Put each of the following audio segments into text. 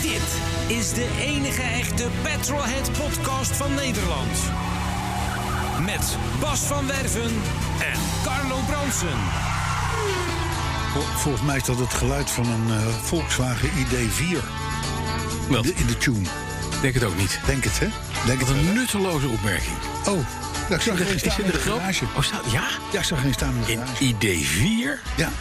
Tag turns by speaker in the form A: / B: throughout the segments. A: Dit is de enige echte Petrolhead podcast van Nederland. Met Bas van Werven en Carlo Bronsen.
B: Vol- Volgens mij is dat het geluid van een eh, Volkswagen ID4 in
C: Wel,
B: de, in de tune.
C: denk het ook niet.
B: Denk het, hè? Denk
C: Wat
B: het wel,
C: een
B: hè?
C: nutteloze opmerking.
B: Oh, ja, ik zag er geen
C: Is
B: staan
C: in
B: in
C: de
B: de
C: grap?
B: garage.
C: Oh, staat, ja?
B: Ja, ik zag er geen staan in de
C: In
B: garage.
C: ID4.
B: Ja,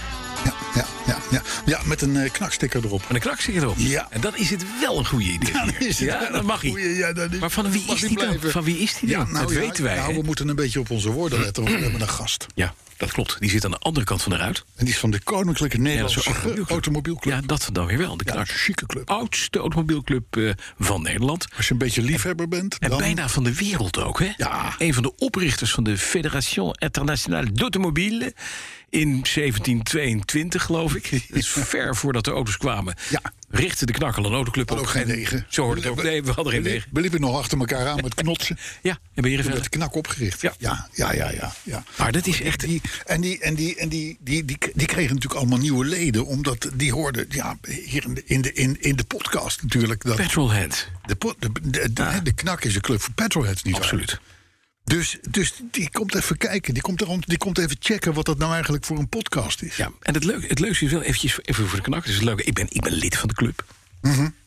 B: ja, ja, ja, ja. Ja, met een eh, knaksticker erop.
C: En de klak zit erop.
B: Ja.
C: En dan is het wel een goede idee.
B: Ja, dan is het wel
C: ja, dat
B: een
C: mag hij.
B: goeie, ja, dan is-
C: maar van wie
B: mag
C: is
B: hij
C: die dan?
B: blijven.
C: Van wie is die dan? dat weten wij.
B: Nou,
C: hè?
B: we moeten een beetje op onze woorden letten, want we hebben een gast.
C: Ja, dat klopt. Die zit aan de andere kant van de ruit.
B: En die is van de Koninklijke
C: Ja, dat is
B: Nederlandse
C: een automobielclub.
B: Automobielclub.
C: Ja, dat dan weer wel. De
B: Ja,
C: knar.
B: een chique club.
C: Oudste automobielclub eh, van Nederland.
B: Als je een beetje liefhebber bent,
C: En
B: dan...
C: bijna van de wereld ook, hè?
B: Ja.
C: Een van de oprichters van de Fédération Internationale d'Automobile in 1722, geloof ik. Dat is ver voordat de auto's kwamen.
B: Ja.
C: Richtte de knakkel een autoclub
B: Had
C: op.
B: ook geen
C: En
B: wegen.
C: Zo hoorde het ook. Nee, we hadden geen
B: We li-
C: wegen.
B: We liepen nog achter elkaar aan met knotsen.
C: Ja, en ben je
B: Toen werd de knak opgericht.
C: Ja.
B: ja, ja, ja. ja, ja.
C: Maar dat is echt...
B: Die, en die, en die, en die, die, die, die kregen natuurlijk allemaal nieuwe leden. Omdat die hoorden ja, hier in de, in, de, in, in de podcast natuurlijk. Dat
C: Petrolhead.
B: de, po- de, de, de, de knak is een club voor petrolheads niet waar.
C: Absoluut.
B: Dus, dus die komt even kijken. Die komt, erom, die komt even checken wat dat nou eigenlijk voor een podcast is.
C: Ja, en het, leuke, het leukste is wel, eventjes, even voor de knak, dus het leuke, ik ben, ik ben lid van de club.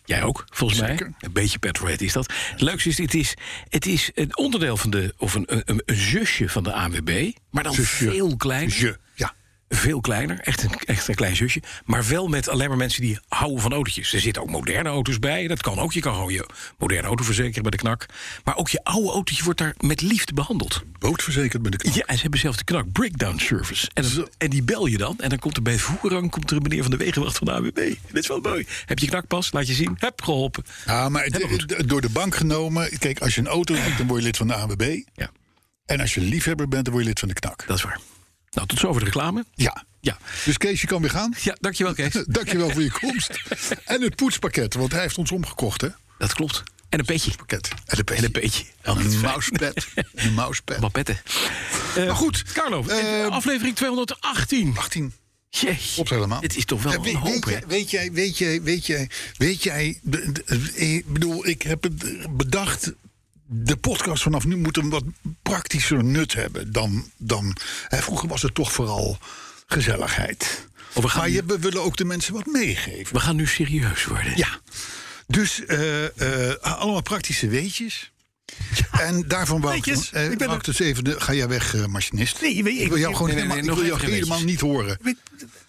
C: Jij ook, volgens
B: Mhm. Zeker.
C: mij. Een beetje petrolhead is dat. Het leukste is, het is, het is een onderdeel van de, of een, een, een zusje van de ANWB, maar dan
B: Zusje.
C: veel kleiner.
B: Je, ja.
C: Veel kleiner, echt een, echt een klein zusje. Maar wel met alleen maar mensen die houden van autootjes. Er zitten ook moderne auto's bij. Dat kan ook. Je kan gewoon je moderne auto verzekeren bij de knak. Maar ook je oude autootje wordt daar met liefde behandeld.
B: Bootverzekerd met de knak.
C: Ja, en ze hebben zelf de knak breakdown service. En, dan- en die bel je dan. En dan komt er bij voerrang komt er een meneer van de wegenwacht van de AWB. Dit is wel mooi. Heb je knakpas? Laat je zien. Heb geholpen.
B: Ja, maar het-
C: Helemaal
B: het- door de bank genomen. Kijk, als je een auto hebt, dan word je lid van de ANWB.
C: Ja,
B: En als je liefhebber bent, dan word je lid van de knak.
C: dat is waar. Nou, tot zover de reclame.
B: Ja.
C: Ja,
B: Dus Kees, je kan weer gaan.
C: ja dankjewel Kees.
B: Dankjewel voor je komst. En het poetspakket, want hij heeft ons omgekocht, hè?
C: Dat klopt. En een petje.
B: Pakket. En een petje. Mm.
C: En een petje. Altijd
B: En een
C: fijn.
B: mousepad. En Een mousepad.
C: Wat petten. Eh,
B: Maar goed,
C: Carlo,
B: Nou, eh,
C: aflevering 218.
B: 18.
C: Jeetje.
B: Klopt helemaal.
C: Het is toch wel
B: Ja, we-
C: een
B: weet,
C: hoop, hè?
B: jij- weet jij, weet jij, weet jij, weet jij... de- de- Ik bedoel, ik heb het bedacht... De podcast vanaf nu moet een wat praktischer nut hebben dan... dan hè, vroeger was het toch vooral gezelligheid.
C: Oh, we gaan
B: maar
C: nu-
B: je, we willen ook de mensen wat meegeven.
C: We gaan nu serieus worden.
B: Ja. Dus eh, eh, allemaal praktische weetjes. En daarvan wou ik,
C: Weetjes,
B: eh,
C: ik ben
B: wou
C: er.
B: ik dus even... de- ga jij weg, eh, machinist?
C: Nee, weet je,
B: ik wil jou
C: ik-
B: gewoon
C: nee, nee,
B: helemaal,
C: nee,
B: ik wil jou
C: nog even
B: helemaal
C: weetjes.
B: niet horen.
C: Weet,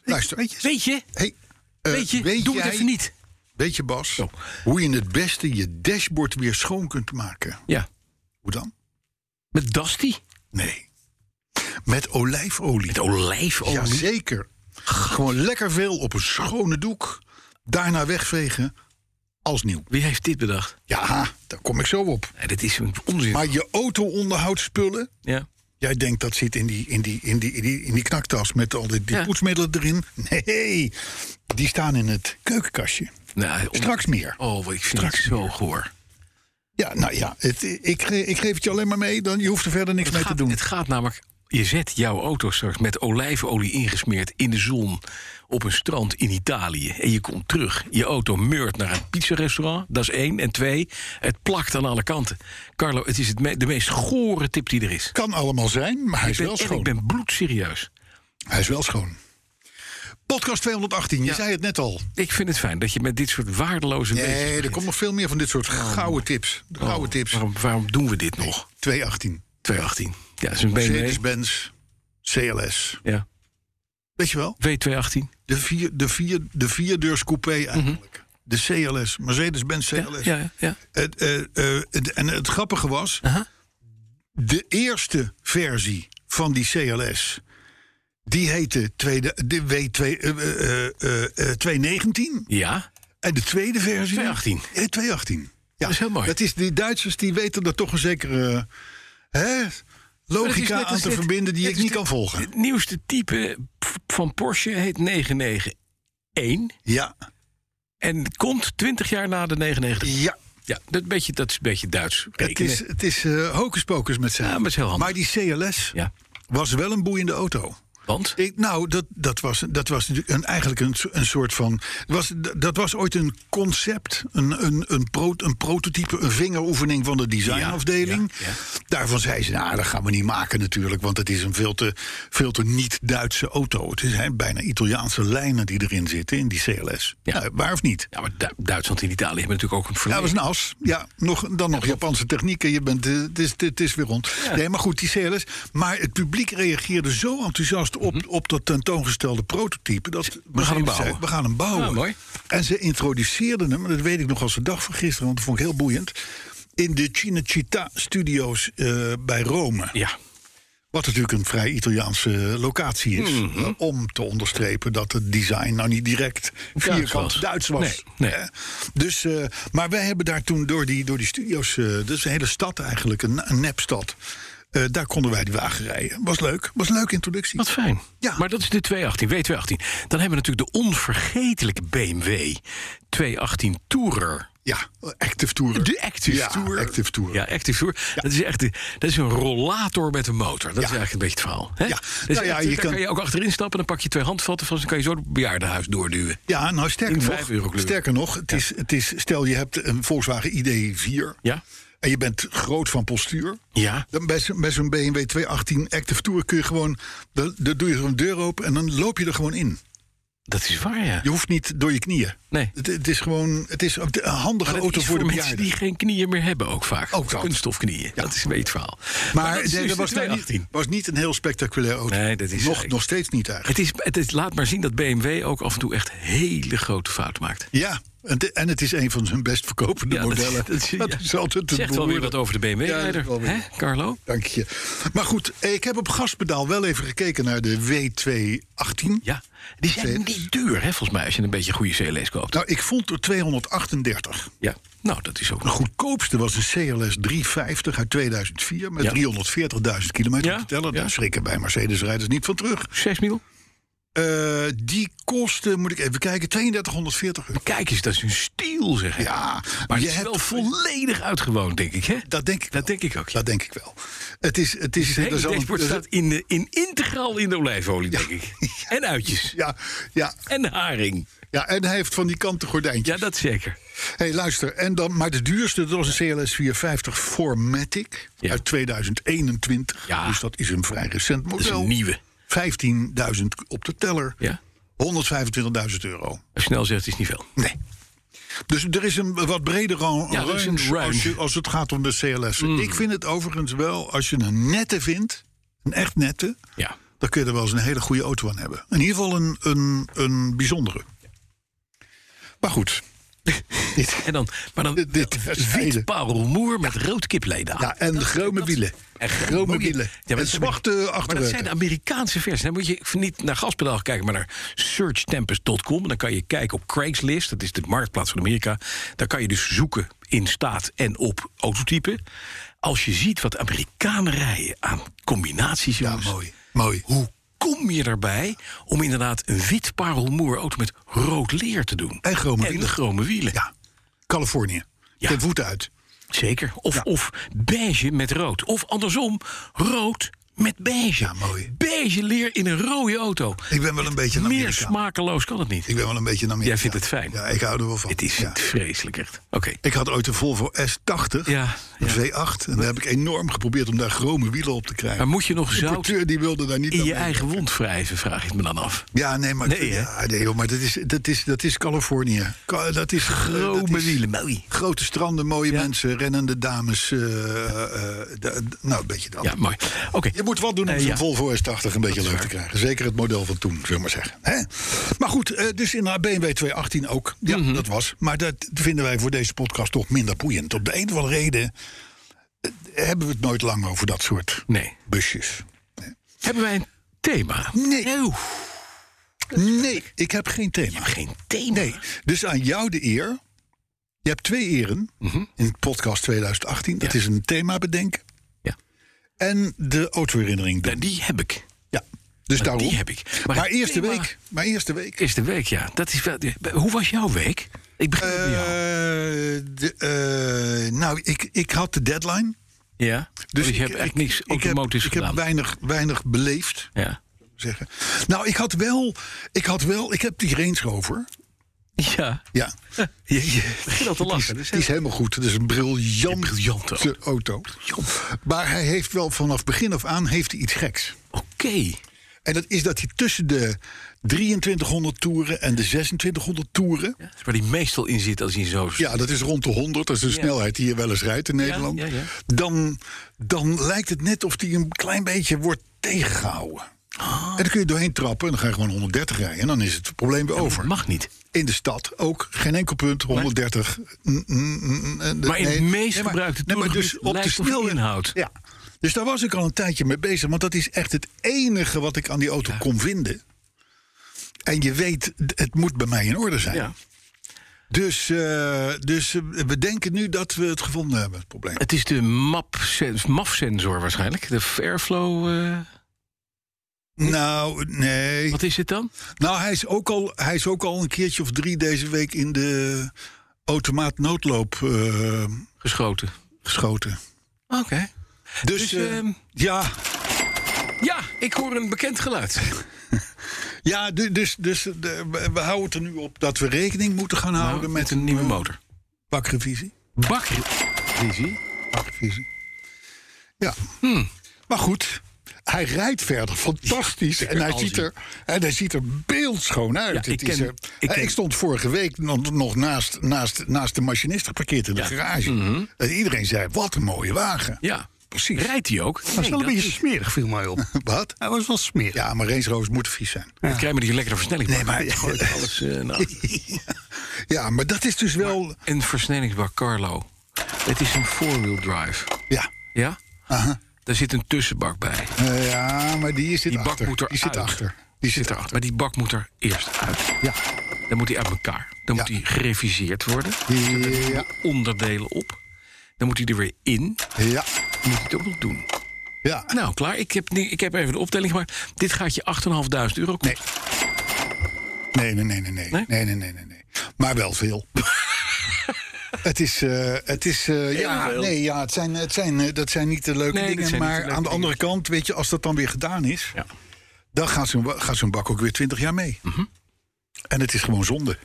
B: Luister.
C: weet je,
B: Hey, eh,
C: weet je, doe het
B: jij-
C: even niet.
B: Weet je, Bas,
C: Oh.
B: hoe je het beste je dashboard weer schoon kunt maken?
C: Ja,
B: Hoe dan?
C: met Dusty.
B: Nee. Met olijfolie.
C: Met oh, olijfolie.
B: Jazeker. Gewoon lekker veel op een schone doek. Daarna wegvegen. Als nieuw.
C: Wie heeft dit bedacht?
B: Ja, daar kom ik zo op.
C: Nee, dit is een onzin.
B: Maar je auto-onderhoudspullen.
C: ja.
B: Jij denkt dat zit in die, in die, in die, in die, in die knaktas met al die, die
C: Ja.
B: poetsmiddelen erin. Nee, die staan in het keukenkastje.
C: Nou, on-
B: Straks meer.
C: Oh, ik vind
B: Straks
C: het zo goor.
B: Ja, nou ja, het, ik, ge- ik geef het je alleen maar mee. Dan, je hoeft er verder niks
C: Het
B: mee
C: gaat,
B: te doen.
C: het gaat namelijk... Je zet jouw auto straks met olijfolie ingesmeerd in de zon... op een strand in Italië. En je komt terug. Je auto meurt naar een pizzarestaurant. Dat is één. En twee, het plakt aan alle kanten. Carlo, het is het me- de meest gore tip die er is.
B: Kan allemaal zijn, maar hij is
C: Ik ben-
B: wel
C: en
B: schoon.
C: ik ben bloedserieus.
B: Hij is wel schoon. Podcast 218, je zei het net al.
C: Ik vind het fijn dat je met dit soort waardeloze... wezens
B: Nee, er
C: begint.
B: komt nog veel meer van dit soort gouden tips. De
C: Oh,
B: gouden tips.
C: Waarom, waarom doen we dit nog?
B: 218.
C: 218. Ja, dat is een BMW.
B: Mercedes-Benz, CLS.
C: Ja.
B: Weet je wel?
C: W218.
B: De, vier, de, vier, de vierdeurs coupé eigenlijk. De CLS, Mercedes-Benz
C: Mhm. Ja,
B: CLS.
C: ja, ja.
B: Het, eh, eh, het- en het grappige was,
C: Aha.
B: de eerste versie van die CLS... Die heette tweede, de W2, eh, eh, eh, eh, 219.
C: Ja?
B: En de tweede versie?
C: 218.
B: Eh, 218. Ja,
C: Dat is heel mooi.
B: Dat is, die Duitsers die weten er toch een zekere eh, hè, logica
C: net
B: aan
C: als
B: te
C: dit-
B: verbinden die
C: net
B: ik
C: als
B: niet
C: dit-
B: kan volgen.
C: Het nieuwste type p- van Porsche heet 991.
B: Ja,
C: En komt 20 jaar na de 99.
B: ja.
C: Ja, dat, beetje, dat is een beetje Duits
B: Het
C: rekenen.
B: is, het is eh, hocus pocus met zijn.
C: Ja, maar het is heel handig.
B: Maar die CLS
C: Ja,
B: was wel een boeiende auto.
C: want?
B: Ik, nou, dat, dat was, dat was natuurlijk een, eigenlijk een, so- een soort van. Was, d- dat was ooit een concept, een, een, een, pro- een prototype, een vingeroefening van de designafdeling.
C: Ja, ja, ja.
B: Daarvan zei ze: Nou, dat gaan we niet maken natuurlijk, want het is een veel te, veel te niet-Duitse auto. Het zijn bijna Italiaanse lijnen die erin zitten in die CLS.
C: Ja.
B: Nou, waar of niet?
C: Ja, maar Du- Duitsland en Italië hebben natuurlijk ook een
B: Ja,
C: verleden.
B: dat was een as. Ja, nog, dan nog Japanse technieken. Je bent, eh, het, is, het is weer rond. Nee, maar goed, die CLS. Maar het publiek reageerde zo enthousiast op, op dat tentoongestelde prototype. Dat we
C: Mhm. gaan hem bouwen.
B: we gaan hem bouwen.
C: Ah, mooi.
B: En ze introduceerden hem, en dat weet ik nog als de dag van gisteren, want dat vond ik heel boeiend. In de Cinecittà Studios eh, bij Rome.
C: Ja,
B: Wat natuurlijk een vrij Italiaanse locatie is.
C: Mhm.
B: eh, Om te onderstrepen dat het design nou niet direct vierkant
C: was.
B: Duits was.
C: Nee, nee.
B: Hè? Dus, eh, maar wij hebben daar toen door die, door die studio's... eh, dus een hele stad eigenlijk, een, een nepstad... eh, daar konden wij die wagen rijden. Was leuk. Was een leuke introductie.
C: wat fijn.
B: Ja.
C: Maar dat is de 218, W218. Dan hebben we natuurlijk de onvergetelijke BMW 218 Tourer.
B: Ja, Active Tour.
C: De Active
B: ja,
C: Tourer.
B: Active Tourer.
C: Ja, Active Tourer. Dat, is echt, de- dat is een rollator met een motor. Dat
B: Ja.
C: is eigenlijk een beetje het verhaal. Hè?
B: Ja.
C: Dus
B: Nou ja,
C: echt,
B: je
C: daar
B: kan-
C: kan... je ook achterin stappen, dan pak je twee handvatten van... dan kan je zo het bejaardenhuis doorduwen.
B: Ja, nou
C: In
B: sterker
C: vijf euro
B: nog,
C: kleur.
B: sterker nog het, is, het is, stel je hebt een Volkswagen ID4
C: Ja?
B: en je bent groot van postuur.
C: Ja.
B: Dan bij zo'n bij zo'n BMW 218 Active Tour kun je gewoon. Dan, dan doe je zo'n deur open en dan loop je er gewoon in.
C: Dat is waar, ja.
B: Je hoeft niet door je knieën.
C: Nee.
B: Het, het is gewoon. Het is een een handige
C: Maar dat
B: auto
C: is
B: voor de
C: mensen
B: bejaarden.
C: die geen knieën meer hebben ook vaak.
B: Ook dat.
C: Kunststofknieën. Dat is een beetje het verhaal.
B: Maar
C: dat is
B: nee,
C: dus
B: dat
C: de
B: was, nou niet,
C: 218.
B: was niet een heel spectaculair auto.
C: Nee, dat is
B: nog,
C: eigenlijk-
B: nog steeds niet eigenlijk.
C: Het, is, het, is- laat maar zien dat BMW ook af en toe echt hele grote fouten maakt.
B: Ja, en, de- en het is een van hun best verkopende
C: Ja, dat-
B: modellen. Dat,
C: dat is- ja.
B: is altijd te
C: Zegt wel weer
B: beroerde.
C: wat over de
B: Ja, dat is
C: BMW-rijder.
B: wel weer-
C: hè, Carlo?
B: Dank je. Maar goed, eh, ik heb op gaspedaal wel even gekeken naar de W218.
C: Ja. Die zijn niet duur, hè, volgens mij, als je een beetje goede CLS koopt.
B: Nou, ik vond er 238.
C: Ja. Nou, dat is ook
B: De
C: nog.
B: goedkoopste was een CLS 350 uit 2004 met
C: Ja.
B: 340.000 kilometer
C: Ja,
B: te tellen. Daar
C: ja.
B: schrikken bij Mercedes-rijders niet van terug.
C: 6 mil?
B: Eh, die kostte, moet ik even kijken, 3240 euro.
C: Kijk eens, dat is een stiel, zeg. ik.
B: Ja,
C: Maar
B: je
C: het is
B: hebt-
C: wel volledig uitgewoond, denk ik, hè?
B: Dat denk ik
C: Dat denk ik ook, ja.
B: Dat denk ik wel. Het is... Het is,
C: Het
B: er
C: hele
B: zal een-
C: dashboard
B: er zal-
C: staat in, de, in integraal in de olijfolie, denk ik. En uitjes.
B: ja, ja,
C: En haring.
B: ja, en hij heeft van die kanten gordijntjes.
C: Ja, dat zeker.
B: Hey, luister, en dan, maar de duurste, dat was een CLS 450 Formatic
C: Ja.
B: uit 2021.
C: Ja.
B: Dus dat is een vrij recent
C: Dat is
B: model.
C: een nieuwe.
B: 15.000 op de teller.
C: Ja?
B: 125.000 euro.
C: Als je snel zegt, is het niet veel.
B: Nee. Dus er is een wat breder ran-
C: Ja, er is een
B: range als,
C: range. Mm.
B: je, als het gaat om de CLS. Ik vind het overigens wel, als je een nette vindt, een echt nette,
C: Ja.
B: dan kun je er wel eens een hele goede auto aan hebben. In ieder geval een, een, een bijzondere. Maar goed.
C: En dan, maar dan
B: Dit- dit
C: wit
B: terzijde.
C: parelmoer met rood kipleden.
B: Ja, en groene wielen.
C: Ah, En
B: Groene wielen. en zwarte
C: Maar dat zijn de
B: achterruiten.
C: Amerikaanse versies. Dan moet je niet naar gaspedaal kijken, maar naar searchtempest.com. Dan kan je kijken op Craigslist, dat is de marktplaats van Amerika. Daar kan je dus zoeken in staat en op autotype. Als je ziet wat Amerikanen rijden aan combinaties, jongens.
B: Mooi. Mooi.
C: Hoe kom je erbij om inderdaad een wit parelmoer auto met rood leer te doen?
B: En chrome wielen.
C: En chrome wielen.
B: Ja. Californië.
C: Ja.
B: Ten voeten uit.
C: Zeker. Of, of beige met rood. Of andersom, rood met beige.
B: Ja, mooi.
C: Beige leer in een rode auto.
B: Ik ben wel een beetje een
C: Meer
B: Amerikaan.
C: smakeloos kan het niet.
B: Ik ben wel een beetje een Amerikaan.
C: vindt het fijn.
B: Ja, ik hou er wel van.
C: Het is
B: Ja.
C: vreselijk echt. Oké.
B: Ik had ooit een Volvo S80,
C: Ja,
B: een V8. En daar heb ik enorm geprobeerd om daar chrome wielen op te krijgen.
C: Maar moet je nog
B: de
C: zout
B: porteur die wilde daar niet
C: in
B: aan
C: je
B: mee.
C: eigen wond wrijven, vraag ik me dan af.
B: Ja, nee, maar,
C: Nee, hè?
B: ja, nee, joh, maar dat, is, dat, is, dat is Californië. Ka- Dat is dat
C: Chrome
B: is
C: wielen, mooi.
B: Grote stranden, mooie
C: Ja.
B: mensen, rennende dames. eh, eh, eh, d- d- nou, een beetje dat.
C: Ja, mooi. Oké.
B: Je moet wat doen om
C: Eh,
B: zo'n
C: ja.
B: Volvo S80 een beetje
C: is
B: leuk te
C: waar.
B: krijgen. Zeker het model van toen, zullen we maar zeggen. Hè? Maar goed, eh, dus in de BMW 218 ook. Ja,
C: Mhm.
B: dat was. Maar dat vinden wij voor deze podcast toch minder boeiend. Op de een of andere reden eh, hebben we het nooit lang over dat soort
C: Nee.
B: busjes.
C: Hebben wij een thema.
B: Nee.
C: Oeh,
B: Nee, ik heb geen thema.
C: geen thema.
B: Nee, dus aan jou de eer. Je hebt twee eren in podcast 2018. Dat
C: Mhm. Ja.
B: is een thema bedenken
C: Ja.
B: en de autoherinnering doen.
C: Nou, die heb ik.
B: ja. Dus
C: Maar
B: daarom.
C: die heb ik.
B: Maar,
C: Maar het
B: eerste
C: thema-
B: week. Maar eerste week.
C: Is de week, ja. Dat is wel, hoe was jouw week? Ik begin met jou.
B: Eh, de, eh, nou, ik, ik had de deadline.
C: Ja. Dus,
B: ik
C: je hebt
B: ik-
C: echt niks
B: ik heb-
C: automatisch
B: Ik
C: gedaan.
B: heb weinig, weinig beleefd.
C: ja.
B: Zeggen. Nou, ik had wel. Ik had wel. Ik heb die Range Rover.
C: Ja.
B: Ja.
C: Je, je, ik vind dat te lachen.
B: Die is helemaal goed. Het is een briljante,
C: briljante
B: auto. Maar hij heeft wel vanaf begin af aan heeft hij iets geks.
C: Oké.
B: En dat is dat hij tussen de 2300 toeren en de 2600 toeren...
C: Ja, dat is waar die meestal in zit als hij zo...
B: Ja, dat is rond de 100. Dat is de snelheid die je wel eens rijdt in Nederland.
C: ja, ja.
B: Dan, dan lijkt het net of die een klein beetje wordt tegengehouden.
C: Ah.
B: En dan kun je doorheen trappen en dan ga je gewoon 130 rijden. En dan is het probleem weer over.
C: Mag niet.
B: In de stad ook geen enkel punt 130. Mm, mm, mm, mm,
C: Maar in het meest gebruikte
B: dus
C: toergebied
B: op de
C: lijkt of
B: snelweg.
C: inhoud.
B: Ja. Dus daar was ik al een tijdje mee bezig, want dat is echt het enige wat ik aan die auto kon vinden. En je weet, d- het moet bij mij in orde zijn.
C: Ja.
B: Dus, eh, dus eh, we denken nu dat we het gevonden hebben, het probleem.
C: Het is de map MAF-sensor waarschijnlijk. De Airflow... eh,
B: Nou, nee.
C: wat is het dan?
B: Nou, hij is, ook al, hij is ook al een keertje of drie deze week in de automaat noodloop eh,
C: Geschoten.
B: geschoten.
C: Oké.
B: Dus,
C: Dus,
B: eh,
C: ehm,
B: ja,
C: Ja, ik hoor een bekend geluid.
B: ja du- dus, dus eh, we- we houden het er nu op dat we rekening moeten gaan houden met, eh,
C: Met Nou, een nieuwe motor.
B: bakrevisie.
C: Bakrevisie?
B: bakrevisie. Ja.
C: Hmm.
B: Maar goed, hij rijdt verder fantastisch. en, hij
C: als
B: ziet
C: hij-
B: er, en hij ziet er beeldschoon uit.
C: Ja,
B: Het
C: ik
B: is,
C: ken-
B: eh,
C: ik
B: eh,
C: ken-
B: ik stond vorige week nog, nog naast, naast, naast de machinist geparkeerd in de garage.
C: Mhm.
B: En iedereen zei, wat een mooie wagen.
C: Ja.
B: Precies.
C: Rijdt hij ook?
D: Dat is wel een beetje smerig, viel mij op.
B: Wat?
D: Hij was wel smerig.
B: Ja, maar Range Rovers moeten vies zijn.
C: Dan krijg je die lekkere versnelling.
B: Nee, maar-
C: alles, eh, nou.
B: Ja, maar dat is dus wel...
C: Een versnellingsbak, Carlo. Het is een four-wheel drive.
B: Ja.
C: Ja?
B: Aha.
C: Daar zit een tussenbak bij.
B: Eh, ja, maar die zit
C: Die bak
B: achter.
C: moet
B: die
C: eruit.
B: zit achter. Die zit erachter.
C: Maar die bak moet er eerst uit.
B: Ja.
C: Dan moet hij uit elkaar. Dan
B: Ja.
C: moet hij gereviseerd worden.
B: Ja.
C: Onderdelen op. Dan moet hij er weer in.
B: Ja.
C: Dan moet hij het ook nog doen.
B: ja.
C: Nou, klaar. Ik heb, ni- ik heb even de optelling gemaakt. Dit gaat je 8.500 euro kosten.
B: Nee, nee, nee, nee, nee.
C: Nee?
B: Nee, nee, nee, nee. nee. Maar wel veel. het is, eh, het is eh, ja,
C: veel.
B: nee, ja, het zijn, het zijn, eh, dat zijn niet de leuke
C: Nee, dat
B: dingen.
C: zijn niet de
B: Maar
C: leuke
B: aan de
C: dingen.
B: andere kant, weet je, als dat dan weer gedaan is,
C: Ja.
B: dan gaat zo'n, wa- gaat zo'n bak ook weer twintig jaar mee.
C: Mhm.
B: En het is gewoon zonde.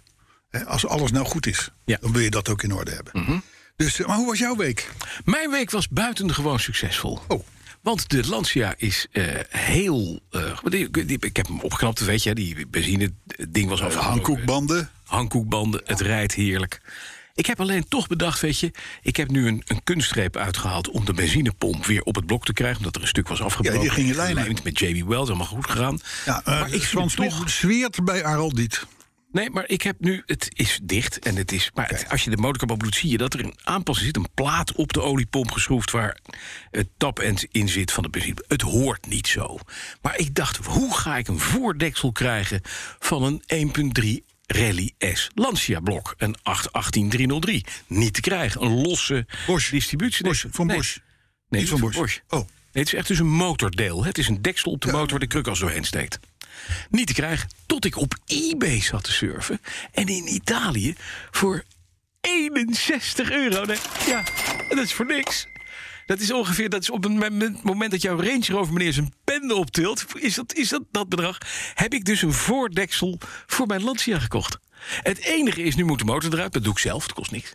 B: Hè, als alles nou goed is,
C: Ja. Mhm.
B: dan wil je dat ook in orde hebben. Dus, eh, maar hoe was jouw week?
C: Mijn week was buitengewoon succesvol.
B: Oh.
C: Want de Lancia is eh, heel... eh, die- die- ik heb hem opgeknapt, weet je. Die benzine ding was
B: De
C: afgebroken.
B: hangkoekbanden.
C: hangkoekbanden. Het rijdt heerlijk. Ik heb alleen toch bedacht, weet je... ik heb nu een, een kunststreep uitgehaald om de benzinepomp weer op het blok te krijgen... omdat er een stuk was afgebroken.
B: Ja, die ging je lijn uit.
C: Gelijmd Met JB Wells, allemaal goed gegaan.
B: Ja, eh,
C: maar ik
B: Swan
C: vind toch...
B: Smith zweert bij Araldiet.
C: Nee, maar ik heb nu... Het is dicht en het is... Maar het- als je de motorkap opbloedt, zie je dat er een aanpassing zit. Een plaat op de oliepomp geschroefd waar het tapend in zit van de benzine. Het hoort niet zo. Maar ik dacht, hoe ga ik een voordeksel krijgen van een 1.3 Rally S Lancia blok? Een 818303. Niet te krijgen. Een losse
B: Bosch.
C: distributie.
B: Bosch, van
C: nee.
B: Bosch.
C: Nee,
B: Niet
C: niet van Bosch.
B: Oh.
C: Nee, het is echt dus een motordeel. hè. Het is een deksel op de motor waar de kruk als doorheen steekt. Niet te krijgen tot ik op eBay zat te surfen. En in Italië voor 61 euro. Nee, ja, dat is voor niks. Dat is ongeveer, dat is op het moment- moment dat jouw Range Rover meneer zijn pen optilt... is dat is dat, dat bedrag, heb ik dus een voordeksel voor mijn Lancia gekocht. Het enige is, nu moet de motor eruit. Dat doe ik zelf, dat kost niks.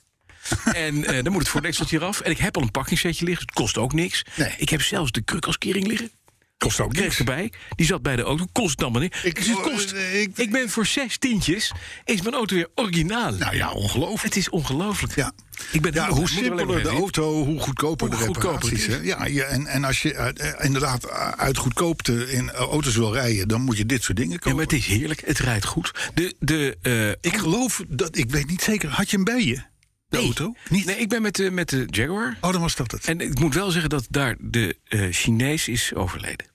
C: En eh, dan moet het voordekseltje eraf. En ik heb al een pakkingssetje liggen, dus het kost ook niks.
B: Nee.
C: Ik heb zelfs de kruk als kering liggen.
B: Kost ook
C: Kreeg
B: niks.
C: erbij. Die zat bij de auto. Kost dan maar niet.
B: Ik-
C: dus het kost.
B: eh, ik-
C: Ik, ben voor zes tientjes. Is mijn auto weer originaal.
B: Nou ja, ongelooflijk.
C: het is ongelooflijk.
B: Ja.
C: Ik ben
B: Ja,
C: heel-
B: hoe
C: moet er alleen maar
B: simpeler de
C: even in.
B: auto, hoe goedkoper
C: Hoe
B: de
C: goedkoper
B: reparaties.
C: het is.
B: hè? Ja, ja, en, en als je eh, eh, inderdaad uit goedkoopte in eh, auto's wil rijden... dan moet je dit soort dingen
C: Ja,
B: kopen.
C: maar het is heerlijk. Het rijdt goed. De, de, eh,
B: Ik geloof dat, ik weet niet zeker, had je hem bij je? De
C: nee.
B: auto? Niet?
C: Nee, ik ben met de, met de Jaguar.
B: Oh, dan was dat het.
C: En ik moet wel zeggen dat daar de eh, Chinees is overleden.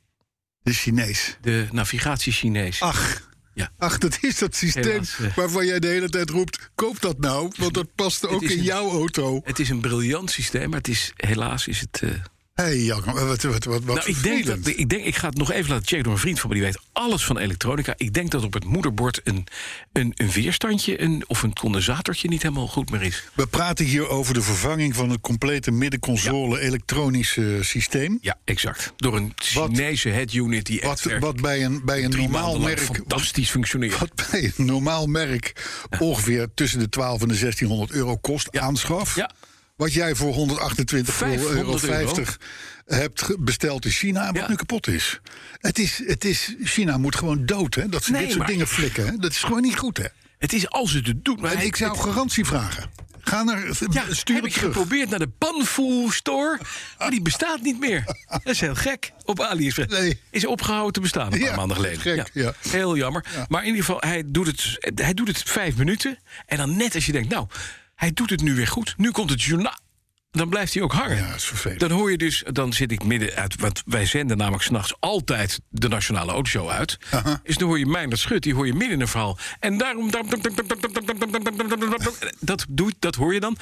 B: De Chinees.
C: De navigatie Chinees.
B: Ach.
C: Ja.
B: Ach, dat is dat systeem
C: Helaas, eh.
B: waarvan jij de hele tijd roept: koop dat nou, want dat past ook
C: is
B: in
C: een-
B: jouw auto.
C: Het is een briljant systeem, maar het is, helaas is het... eh,
B: Hé, hey, Jan, wat, wat, wat, wat
C: nou, ik denk, dat,
B: vervelend.
C: ik denk, ik ga het nog even laten checken door een vriend van me. Die weet alles van elektronica. Ik denk dat op het moederbord een, een, een weerstandje een, of een condensatortje niet helemaal goed meer is.
B: We praten hier over de vervanging van het complete middenconsole elektronische systeem.
C: Ja, exact. Door een Chinese head unit die
B: Wat,
C: echt werkt
B: wat bij een, bij een
C: drie
B: normaal
C: maanden lang
B: merk.
C: fantastisch functioneert.
B: Wat bij een normaal merk ongeveer tussen de 12 en de 1600 euro kost aanschaf.
C: Ja.
B: Wat jij voor 128 euro
C: 500 euro.
B: 50 hebt ge- besteld in China, wat
C: Ja.
B: nu kapot is. Het is, het is. China moet gewoon dood, hè? Dat ze
C: Nee,
B: dit soort
C: maar-
B: dingen flikken. Hè? Dat is gewoon niet goed, hè?
C: Het is als het het doet. Maar
B: En
C: hij-
B: ik zou
C: het-
B: garantie vragen. Ga naar.
C: ja,
B: stuur
C: heb
B: het
C: ik
B: terug.
C: geprobeerd naar de Panfu store, maar die bestaat niet meer. Dat is heel gek. Op AliExpress
B: Nee.
C: is opgehouden te bestaan een paar
B: Ja,
C: maanden geleden.
B: gek, ja.
C: Heel jammer. Maar in ieder geval, hij doet, het, hij doet het vijf minuten. En dan net als je denkt, nou, hij doet het nu weer goed. Nu komt het journaal. Dan blijft hij ook hangen.
B: Ja, dat is vervelend.
C: Dan hoor je dus, dan zit ik midden uit, want wij zenden namelijk s'nachts altijd de Nationale Autoshow uit. Dus dan hoor je mijn dat schut, die hoor je midden in een verhaal. En daarom. Dat, doet, dat hoor je dan.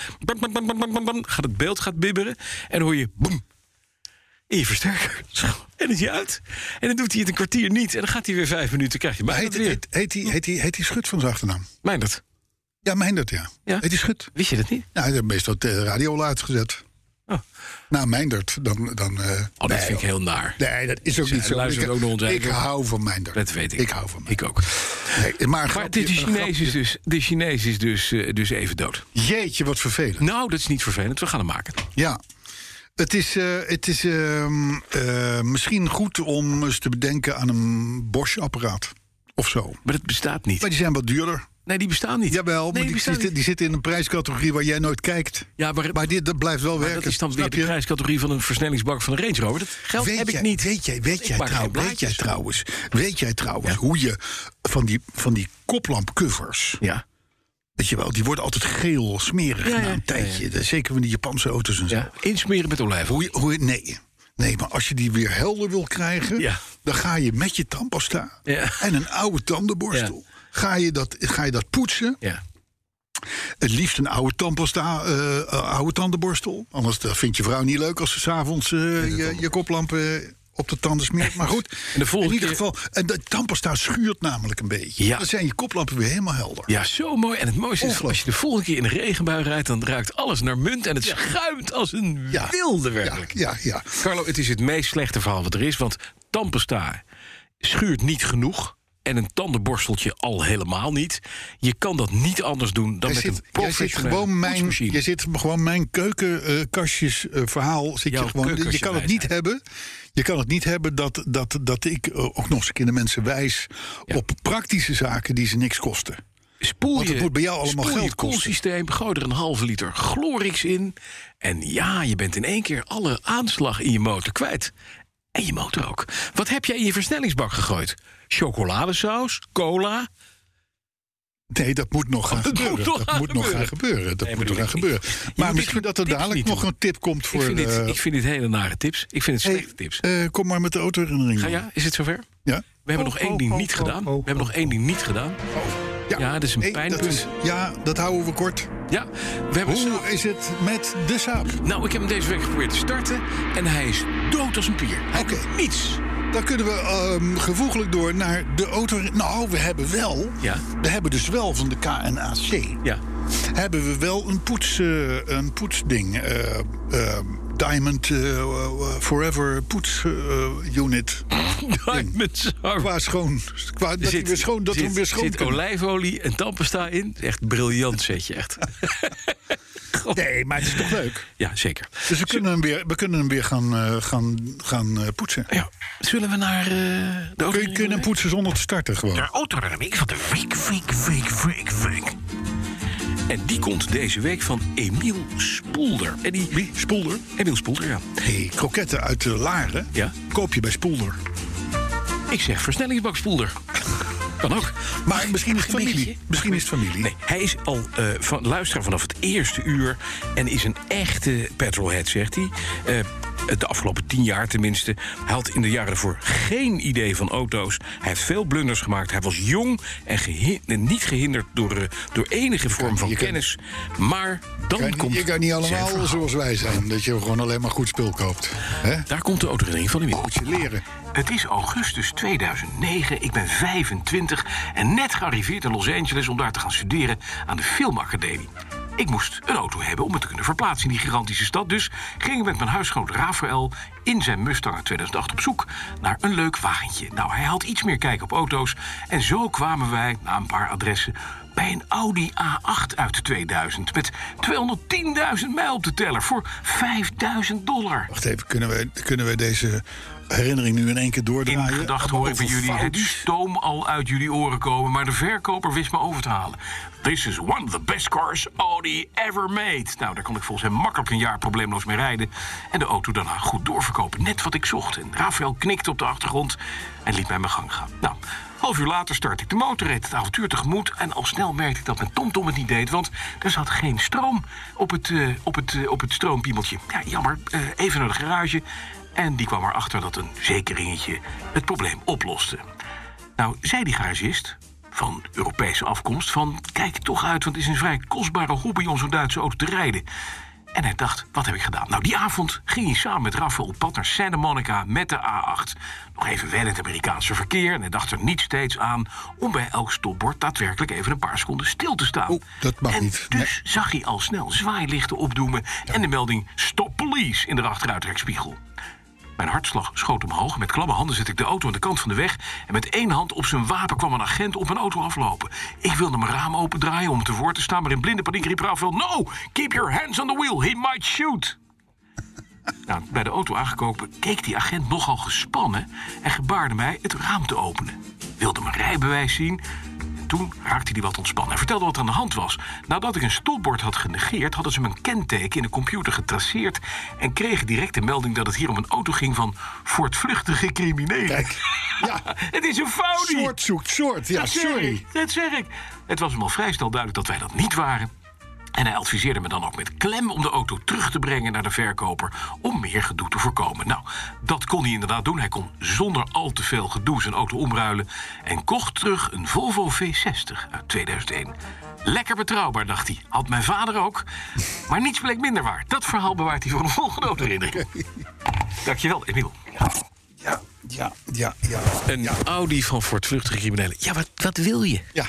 C: Gaat het beeld gaat bibberen. En dan hoor je. Boem, in je versterker. En is hij uit. En dan doet hij het een kwartier niet. En dan gaat hij weer vijf minuten. Krijg je
B: Maar
C: mij
B: Heet,
C: dat weer.
B: heet, heet, die, heet, die, heet die Schut van zijn achternaam?
C: Mijn dat.
B: Ja, mijn dat, ja.
C: Ja.
B: Heet die Schut?
C: Wist je dat niet?
B: Nou, hij heeft meestal de radio al uitgezet.
C: Oh.
B: Nou, Mijndert, dan... dan eh,
C: Oh, dat
B: nee,
C: vind ik heel naar.
B: Nee, dat is ook
C: Ze-
B: niet zo.
C: hij luistert
B: ik,
C: ook naar ons
B: ik
C: eigen-
B: hou van Mijndert.
C: Dat weet ik.
B: Ik hou van Mijndert.
C: Ik ook.
B: Nee, maar een
C: Maar
B: grapje-
C: de, de
B: een grap-
C: Chinees is, dus, de Chinees is dus, eh, dus even dood.
B: Jeetje, wat vervelend.
C: Nou, dat is niet vervelend. We gaan hem maken.
B: Ja. Het is, eh, het is ehm, eh, misschien goed om eens te bedenken aan een Bosch-apparaat. Of zo.
C: Maar dat bestaat niet.
B: Maar die zijn wat duurder.
C: Nee, die bestaan niet.
B: Jawel,
C: nee,
B: maar die,
C: bestaan
B: zitten,
C: niet.
B: die zitten in een prijscategorie waar jij nooit kijkt.
C: Ja, maar,
B: Maar dit, dat blijft wel werken.
C: dat is dan weer
B: snap
C: de
B: je?
C: prijscategorie van een versnellingsbak van een Range Rover. Dat geld
B: Weet
C: Oh, heb
B: jij-
C: ik niet.
B: Weet jij, weet
C: Ik
B: jij,
C: maak geen
B: trouw, weet
C: blaadjes.
B: jij trouwens, weet jij trouwens hoe je van die, van die koplampcovers,
C: Ja.
B: weet je wel, die worden altijd geel, smerig
C: Ja, ja.
B: na een tijdje. Zeker van die Japanse auto's en zo.
C: ja. Insmeren met olijfolie.
B: Hoe, je- hoe, je- nee. nee, maar als je die weer helder wil krijgen,
C: Ja.
B: dan ga je met je tandpasta
C: Ja.
B: en een oude tandenborstel. Ga je, dat, ga je dat poetsen?
C: Ja.
B: Het liefst een oude tandpasta, eh, eh, oude tandenborstel. Anders eh, vindt je vrouw niet leuk als ze s'avonds eh je, je koplamp eh, op de tanden smeert. Maar goed,
C: En de volgende
B: in ieder
C: keer-
B: geval. En de tandpasta schuurt namelijk een beetje.
C: Ja.
B: Dan zijn je koplampen weer helemaal helder.
C: ja, zo mooi. En het mooiste is,
B: Ongelooflijk.
C: als je de volgende keer in de regenbui rijdt... dan ruikt alles naar munt en het schuimt als een
B: Ja.
C: wilde
B: ja,
C: werkelijk.
B: ja. ja.
C: Carlo, het is het meest slechte verhaal wat er is. Want tandpasta schuurt niet genoeg. En een tandenborsteltje al helemaal niet. Je kan dat niet anders doen dan
B: Jij
C: met
B: zit,
C: een
B: jij zit
C: professionele
B: gewoon mijn,
C: poetsmachine.
B: je zit gewoon mijn keukenkastjes eh, verhaal. Zit
C: Jouw
B: je, gewoon, je kan het niet
C: keukenkastjeswijsheid.
B: hebben. Je kan het niet hebben dat, dat, dat ik eh, ook nog eens een keer de mensen wijs op praktische zaken die ze niks kosten.
C: Spoel
B: Want het
C: je,
B: moet bij jou allemaal
C: spoel je
B: geld kosten.
C: koelsysteem, gooi er een halve liter Glorix in. En ja, je bent in één keer alle aanslag in je motor kwijt. En je motor ook. Wat heb jij in je versnellingsbak gegooid? Chocoladesaus, cola.
B: Nee, dat moet nog gaan
C: Oh, dat moet
B: gebeuren.
C: nog
B: Dat
C: gaan
B: moet nog gaan gebeuren. Dat moet
C: Nee,
B: nog
C: bedoel
B: gaan
C: ik
B: gebeuren.
C: niet. Je
B: Maar
C: moet
B: misschien
C: dit
B: dat er
C: tips
B: dadelijk
C: niet
B: nog
C: doen.
B: een tip komt voor.
C: ik, vind dit,
B: eh,
C: ik vind dit hele nare tips. Ik vind het
B: hey,
C: slechte tips.
B: eh, kom maar met de autoherinnering.
C: Ga
B: dan.
C: ja, is het zover?
B: Ja?
C: We hebben
D: Oh,
C: nog één
D: oh,
C: ding
D: oh,
C: niet
D: oh,
C: gedaan.
D: oh,
C: We hebben nog één ding niet gedaan. Oh. Ja, dat is een
B: Hey,
C: pijnpunt.
B: is- ja, dat houden we kort.
C: Ja, we hebben
B: Hoe is het met de saap?
C: Nou, ik heb hem deze week geprobeerd te starten. En hij is dood als een pier. Hij
B: Oké.
C: doet niets.
B: Dan kunnen we ehm gevoeglijk door naar de auto. Nou, we hebben wel.
C: Ja.
B: We hebben dus wel van de KNAC.
C: Ja.
B: Hebben we wel een, poets, eh, een poetsding. eh, eh, Diamond eh, eh, Forever Poets eh, Unit.
C: Diamonds are
B: Qua schoon. Qua, dat hij weer schoon, dat
C: zit,
B: we hem weer schoon
C: zit
B: kunnen.
C: olijfolie en tandpasta in. Echt briljant setje, echt. God.
B: Nee, maar het is toch leuk?
C: Ja, zeker.
B: Dus we kunnen hem weer, we kunnen hem weer gaan, eh, gaan, gaan eh, poetsen.
C: Ja. Zullen we naar eh, de auto?
B: Kun je, kun je hem poetsen zonder te starten gewoon?
D: De autoremming van de week, week, week, week, week.
C: En die komt deze week van Emiel Spoelder. En die, Wie? Spoelder? Emiel Spoelder, ja.
B: hey, kroketten uit de Laren
C: Ja. Oh,
B: koop je bij Spoelder.
C: Ik zeg versnellingsbak Spoelder. Kan ook.
B: Maar misschien is het
C: Mag ik een
B: familie.
C: beetje?
B: Misschien is het familie.
C: Nee, hij is al eh, van, luisteraar vanaf het eerste uur en is een echte petrolhead, zegt hij. Eh, eh, de afgelopen tien jaar tenminste. Hij had in de jaren voor geen idee van auto's. Hij heeft veel blunders gemaakt. Hij was jong en gehi- en niet gehinderd door, eh, door enige vorm van
B: je kan-
C: kennis. Maar dan
B: Kan-
C: komt
B: je kan niet
C: zijn
B: allemaal
C: verhaal.
B: zoals wij zijn. Dat je gewoon alleen maar goed spul koopt. Hè?
C: Daar komt de autoherinnering van de wereld.
B: Moet je leren.
C: Het is augustus 2009, ik ben 25 en net gearriveerd in Los Angeles om daar te gaan studeren aan de Filmacademie. Ik moest een auto hebben om me te kunnen verplaatsen in die gigantische stad. Dus ging ik met mijn huisgenoot Rafael in zijn Mustang uit 2008 op zoek naar een leuk wagentje. Nou, hij had iets meer kijk op auto's. En zo kwamen wij, na een paar adressen, bij een Audi A8 uit 2000. Met 210.000 mijl op de teller voor 5000 dollar.
B: Wacht even, kunnen we, kunnen we deze herinnering nu in één keer
C: In
B: doordraaien?
C: gedachten hoor ik bij jullie het stoom al uit jullie oren komen, maar de verkoper wist me over te halen. This is one of the best cars Audi ever made. Nou, daar kon ik volgens hem makkelijk een jaar probleemloos mee rijden. En de auto daarna goed doorverkopen. Net wat ik zocht. En Rafael knikte op de achtergrond en liet mij mijn gang gaan. Nou, half uur later start ik de motorrit, het avontuur tegemoet. En al snel merkte ik dat mijn TomTom het niet deed, want er zat geen stroom op het, eh, op het, eh, op het stroompiemeltje. Ja, jammer. Eh, even naar de garage. En die kwam erachter dat een zekeringetje het probleem oploste. Nou, zei die garagist van Europese afkomst van... kijk toch uit, want het is een vrij kostbare hobby om zo'n Duitse auto te rijden. En hij dacht, wat heb ik gedaan? Nou, die avond ging hij samen met Rafael op pad naar Santa Monica met de A8. Nog even wel in het Amerikaanse verkeer en hij dacht er niet steeds aan... om bij elk stopbord daadwerkelijk even een paar seconden stil te staan.
B: Oeh, Oh, dat mag
C: En
B: niet.
C: dus zag hij al snel zwaailichten opdoemen... en de melding stop police in de achteruitrekspiegel. Mijn hartslag schoot omhoog. Met klamme handen zette ik de auto aan de kant van de weg. En met één hand op zijn wapen kwam een agent op mijn auto aflopen. Ik wilde mijn raam opendraaien om te voor te staan. Maar in blinde paniek riep Rafael: No! Keep your hands on the wheel, he might shoot! Nou, bij de auto aangekomen keek die agent nogal gespannen en gebaarde mij het raam te openen. Wilde mijn rijbewijs zien. En toen raakte hij wat ontspannen. Hij vertelde wat er aan de hand was. Nadat ik een stopbord had genegeerd, hadden ze mijn kenteken in de computer getraceerd. en kregen direct de melding dat het hier om een auto ging van voortvluchtige criminelen.
B: Kijk, ja,
C: Het is een foutje!
B: soort zoekt soort. Ja,
C: Dat zeg
B: sorry.
C: ik, Dat zeg ik. Het was hem al vrij snel duidelijk dat wij dat niet waren. En hij adviseerde me dan ook met klem om de auto terug te brengen naar de verkoper om meer gedoe te voorkomen. Nou, dat kon hij inderdaad doen. Hij kon zonder al te veel gedoe zijn auto omruilen en kocht terug een Volvo V60 uit 2001. Lekker betrouwbaar, dacht hij. Had mijn vader ook. Maar niets bleek minder waar. Dat verhaal bewaart hij voor de volgende autoherinnering. Dankjewel, Emiel.
B: Ja, ja, ja, ja.
C: Een Audi van voortvluchtige criminelen. Ja, wat, wat wil je?
B: Ja.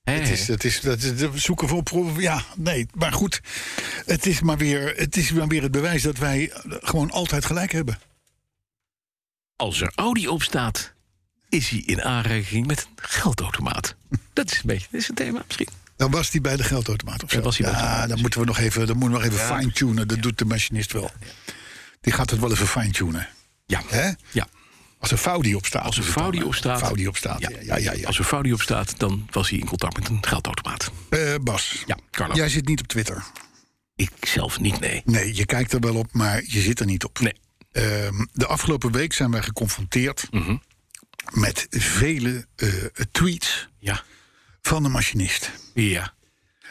B: Het is, het is, dat is dat zoeken voor pro- Ja, nee, maar goed. Het is maar, weer, het is maar weer het bewijs dat wij gewoon altijd gelijk hebben.
C: Als er Audi op staat, is hij in aanraking met een geldautomaat. Dat is een beetje dat is een thema misschien.
B: Dan was hij bij de geldautomaat of zo.
C: Dan was hij bij de
B: ja,
C: geldautomaat.
B: dan moeten we nog even, dan moeten we nog even fine-tunen. Dat doet de machinist wel. Die gaat het wel even fine-tunen.
C: Ja.
B: Hè?
C: Ja.
B: Als er Faudi op staat.
C: Als er
B: is het dan,
C: Faudi
B: hè?
C: op staat.
B: Faudi op staat, ja. ja, ja, ja.
C: Als er Faudi op staat, dan was hij in contact met een geldautomaat.
B: Eh, Bas,
C: Ja, Carlo.
B: jij zit niet op Twitter.
C: Ik zelf niet, nee.
B: Nee, je kijkt er wel op, maar je zit er niet op.
C: Nee.
B: Ehm, de afgelopen week zijn wij geconfronteerd met vele eh, tweets
C: Ja.
B: van de machinist.
C: Ja.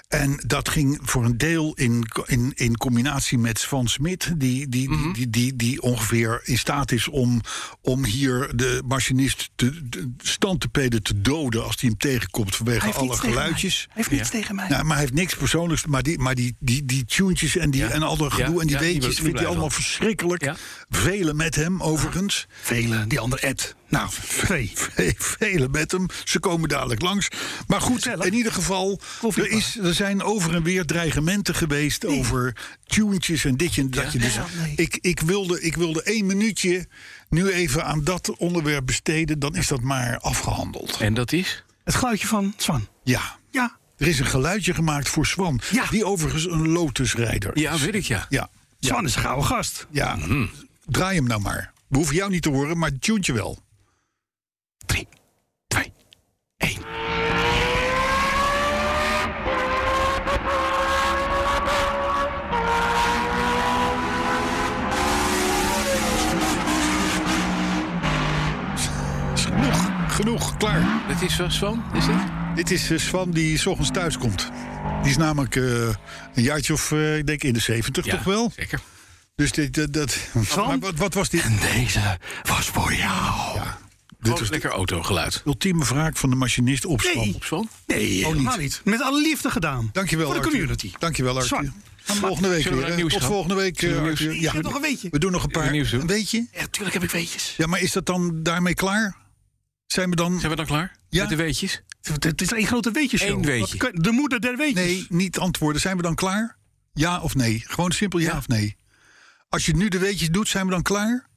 B: En dat ging voor een deel in, co- in, in combinatie met Svan Smit, die, die, die, die, die ongeveer in staat is om, om hier de machinist te, de standtepeden te doden als hij hem tegenkomt vanwege alle geluidjes.
E: Hij heeft niets tegen mij.
B: Nou, maar hij heeft niks persoonlijks. Maar die, maar die, die, die tunetjes en, die,
C: Ja.
B: en al dat gedoe
C: Ja,
B: en die
C: ja, die
B: weetjes
C: wordt-
B: vindt
C: die
B: hij
C: blijven
B: allemaal
C: wel.
B: verschrikkelijk.
C: Ja.
B: Velen met hem, overigens.
E: Velen, die ander Ed. Nou, twee.
B: Ve- Velen met hem. Ze komen dadelijk langs. Maar goed, in ieder geval,
E: Koffie
B: er, is, er zijn over en weer dreigementen geweest over tunetjes en ditje en datje. Dus
E: nee.
B: ik, ik, wilde, ik wilde één minuutje nu even aan dat onderwerp besteden. Dan is dat maar afgehandeld.
C: En dat is?
E: Het geluidje van Swan.
B: Ja.
E: Ja.
B: Er is een geluidje gemaakt voor Swan.
E: Ja.
B: Die overigens een Lotusrijder is.
C: Ja, weet ik ja.
B: Ja,
E: Swan is een gouden gast.
B: ja. Draai hem nou maar. We hoeven jou niet te horen, maar tune je wel.
E: Drie, twee, één.
B: Is Genoeg, genoeg, klaar.
C: Dat is van Swan, is het?
B: Dit is eh, Swan die s ochtends thuis komt. Die is namelijk eh, een jaartje of, eh, ik denk in de 70 toch wel?
C: Zeker.
B: Dus dit, dat, dat,
E: Van?
B: maar wat, wat was dit?
E: En deze was voor jou.
B: Dit
C: Dit is
B: was de
C: lekker autogeluid.
B: ultieme wraak van de machinist op Span.
E: Nee.
C: Op Swan?
E: Nee, helemaal niet. Met alle liefde gedaan.
B: Dankjewel,
E: Voor de
B: Arthur.
E: community.
B: Dankjewel, Arthur.
E: Zwan.
B: Volgende week
C: Zullen
B: weer.
C: we naar
B: hè?
C: nieuws
B: Tot
C: gaan?
B: volgende week,
C: Zullen we
B: eh,
C: nieuws-
B: Arthur. Ja,
E: heb nog een weetje.
B: We doen nog een paar.
C: nieuws doen?
B: Een beetje.
E: Ja, tuurlijk heb ik weetjes.
B: Ja, maar is dat dan daarmee klaar? Zijn we dan...
C: Zijn we dan klaar?
B: Ja.
C: Met de weetjes?
E: Het- Het is één grote weetjes.
C: Eén weetje.
E: De moeder der weetjes.
B: Nee, niet antwoorden. Zijn we dan klaar? Ja of nee? Gewoon simpel ja,
C: Ja.
B: of nee. Als je nu de weetjes doet, zijn we dan klaar?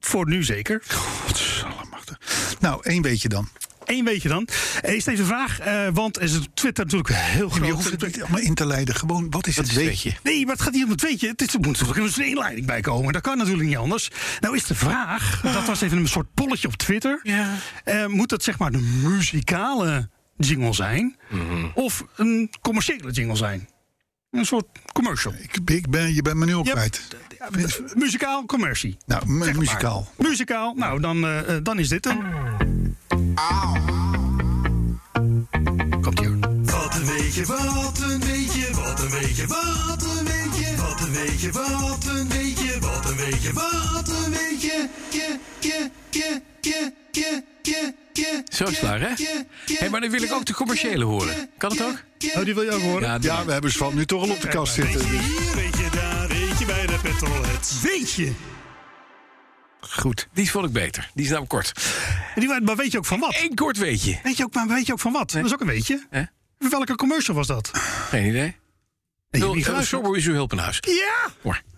E: Voor nu zeker.
B: Godsallemachtig. Nou, één weetje dan.
E: Eén weetje dan. Eh, Is deze vraag, eh, want is het Twitter natuurlijk heel
B: Je
E: groot.
B: hoeft het niet allemaal in te leiden. Gewoon, wat is het weetje?
E: Nee, maar het gaat niet om het weetje. Het is, er moet natuurlijk eens een inleiding bij komen. Dat kan natuurlijk niet anders. Nou is de vraag, dat was even een soort polletje op Twitter.
C: Ja.
E: Eh, moet dat zeg maar een muzikale jingle zijn?
C: Mhm.
E: Of een commerciële jingle zijn? Een soort commercial.
B: Ik, ik ben, je bent me nu al
E: Ja,
B: kwijt.
E: Ja, eh, muzikaal, commercie.
B: Nou, mu- muzikaal.
E: Muzikaal, nou dan, eh, eh, dan is dit hem. Komt hier.
D: Wat een weetje, wat een weetje, wat een weetje, wat een weetje, wat een weetje, wat een weetje, wat een weetje, wat een weetje. Ke, ke, ke, ke, ke, ke, ke,
C: Zo is het klaar, hè?
D: ke, ke,
C: Hé, maar dan wil ik ook de commerciële horen. Kan het ook?
E: Oh, die wil je ook horen?
C: Ja, doe
B: Ja, we hebben Svan nu toch al op de kast zitten.
E: Weet je daar, weet je bij de petrolheads. Weet je.
C: Goed. Die vond ik beter. Die is namelijk kort.
E: En die, maar weet je ook van wat?
C: Eén kort weetje.
E: Weet je ook, maar weet je ook van wat? Dat is ook een weetje.
C: Hè?
E: Welke commercial was dat?
C: Geen idee.
E: Nee,
C: Wil,
E: niet
C: uh,
E: geluisterd.
C: Sorbo is uw hulp in huis.
E: Ja!
C: Kom maar.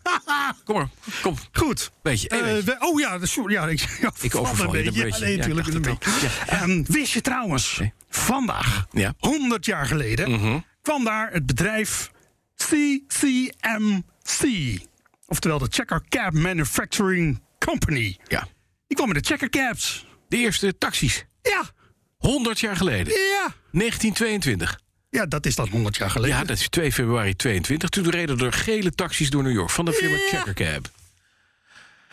C: Kom maar. Kom.
E: Goed.
C: Beetje, één
E: Eh,
C: beetje.
E: we- oh ja, sorry. Ja, ik ja,
C: Ik
E: valt
C: overval je,
E: een
C: dat
E: beetje.
C: beetje.
E: Nee,
C: Ja,
E: natuurlijk.
C: ik
E: een
C: dacht
E: beetje. Ehm, wist je trouwens,
C: Oké.
E: vandaag,
C: Ja. Mhm.
E: 100 jaar geleden, kwam daar het bedrijf CCMC. Oftewel de Checker Cab Manufacturing Company.
C: Ja.
E: Die kwam met de Checker Cabs.
C: De eerste taxis.
E: Ja,
C: 100 jaar geleden.
E: ja.
C: 1922.
E: Ja, dat is dan 100 jaar geleden.
C: Ja, dat is 2 februari 22. Toen reden er gele taxis door New York van de firma
E: Ja.
C: Checker Cab.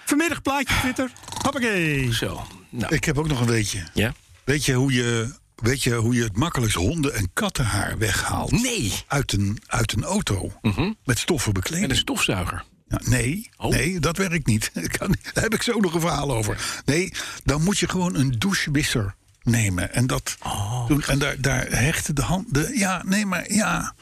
E: Vanmiddag plaatje Twitter. Hoppakee.
C: Zo. Nou.
B: Ik heb ook nog een weetje.
C: Ja?
B: Weet je hoe je, weet je, hoe je het makkelijkst honden- en kattenhaar weghaalt?
C: Nee.
B: Uit een, uit een auto. Met stoffen
C: En een
B: bekleed.
C: stofzuiger.
B: Ja, nee,
C: Oh.
B: nee, dat werkt niet. Ik Kan, niet. daar heb ik zo nog een verhaal over. Nee, dan moet je gewoon een douchewisser nemen. En, dat,
C: Oh.
B: doen. en daar, daar hechten de handen... Ja, nee, maar ja.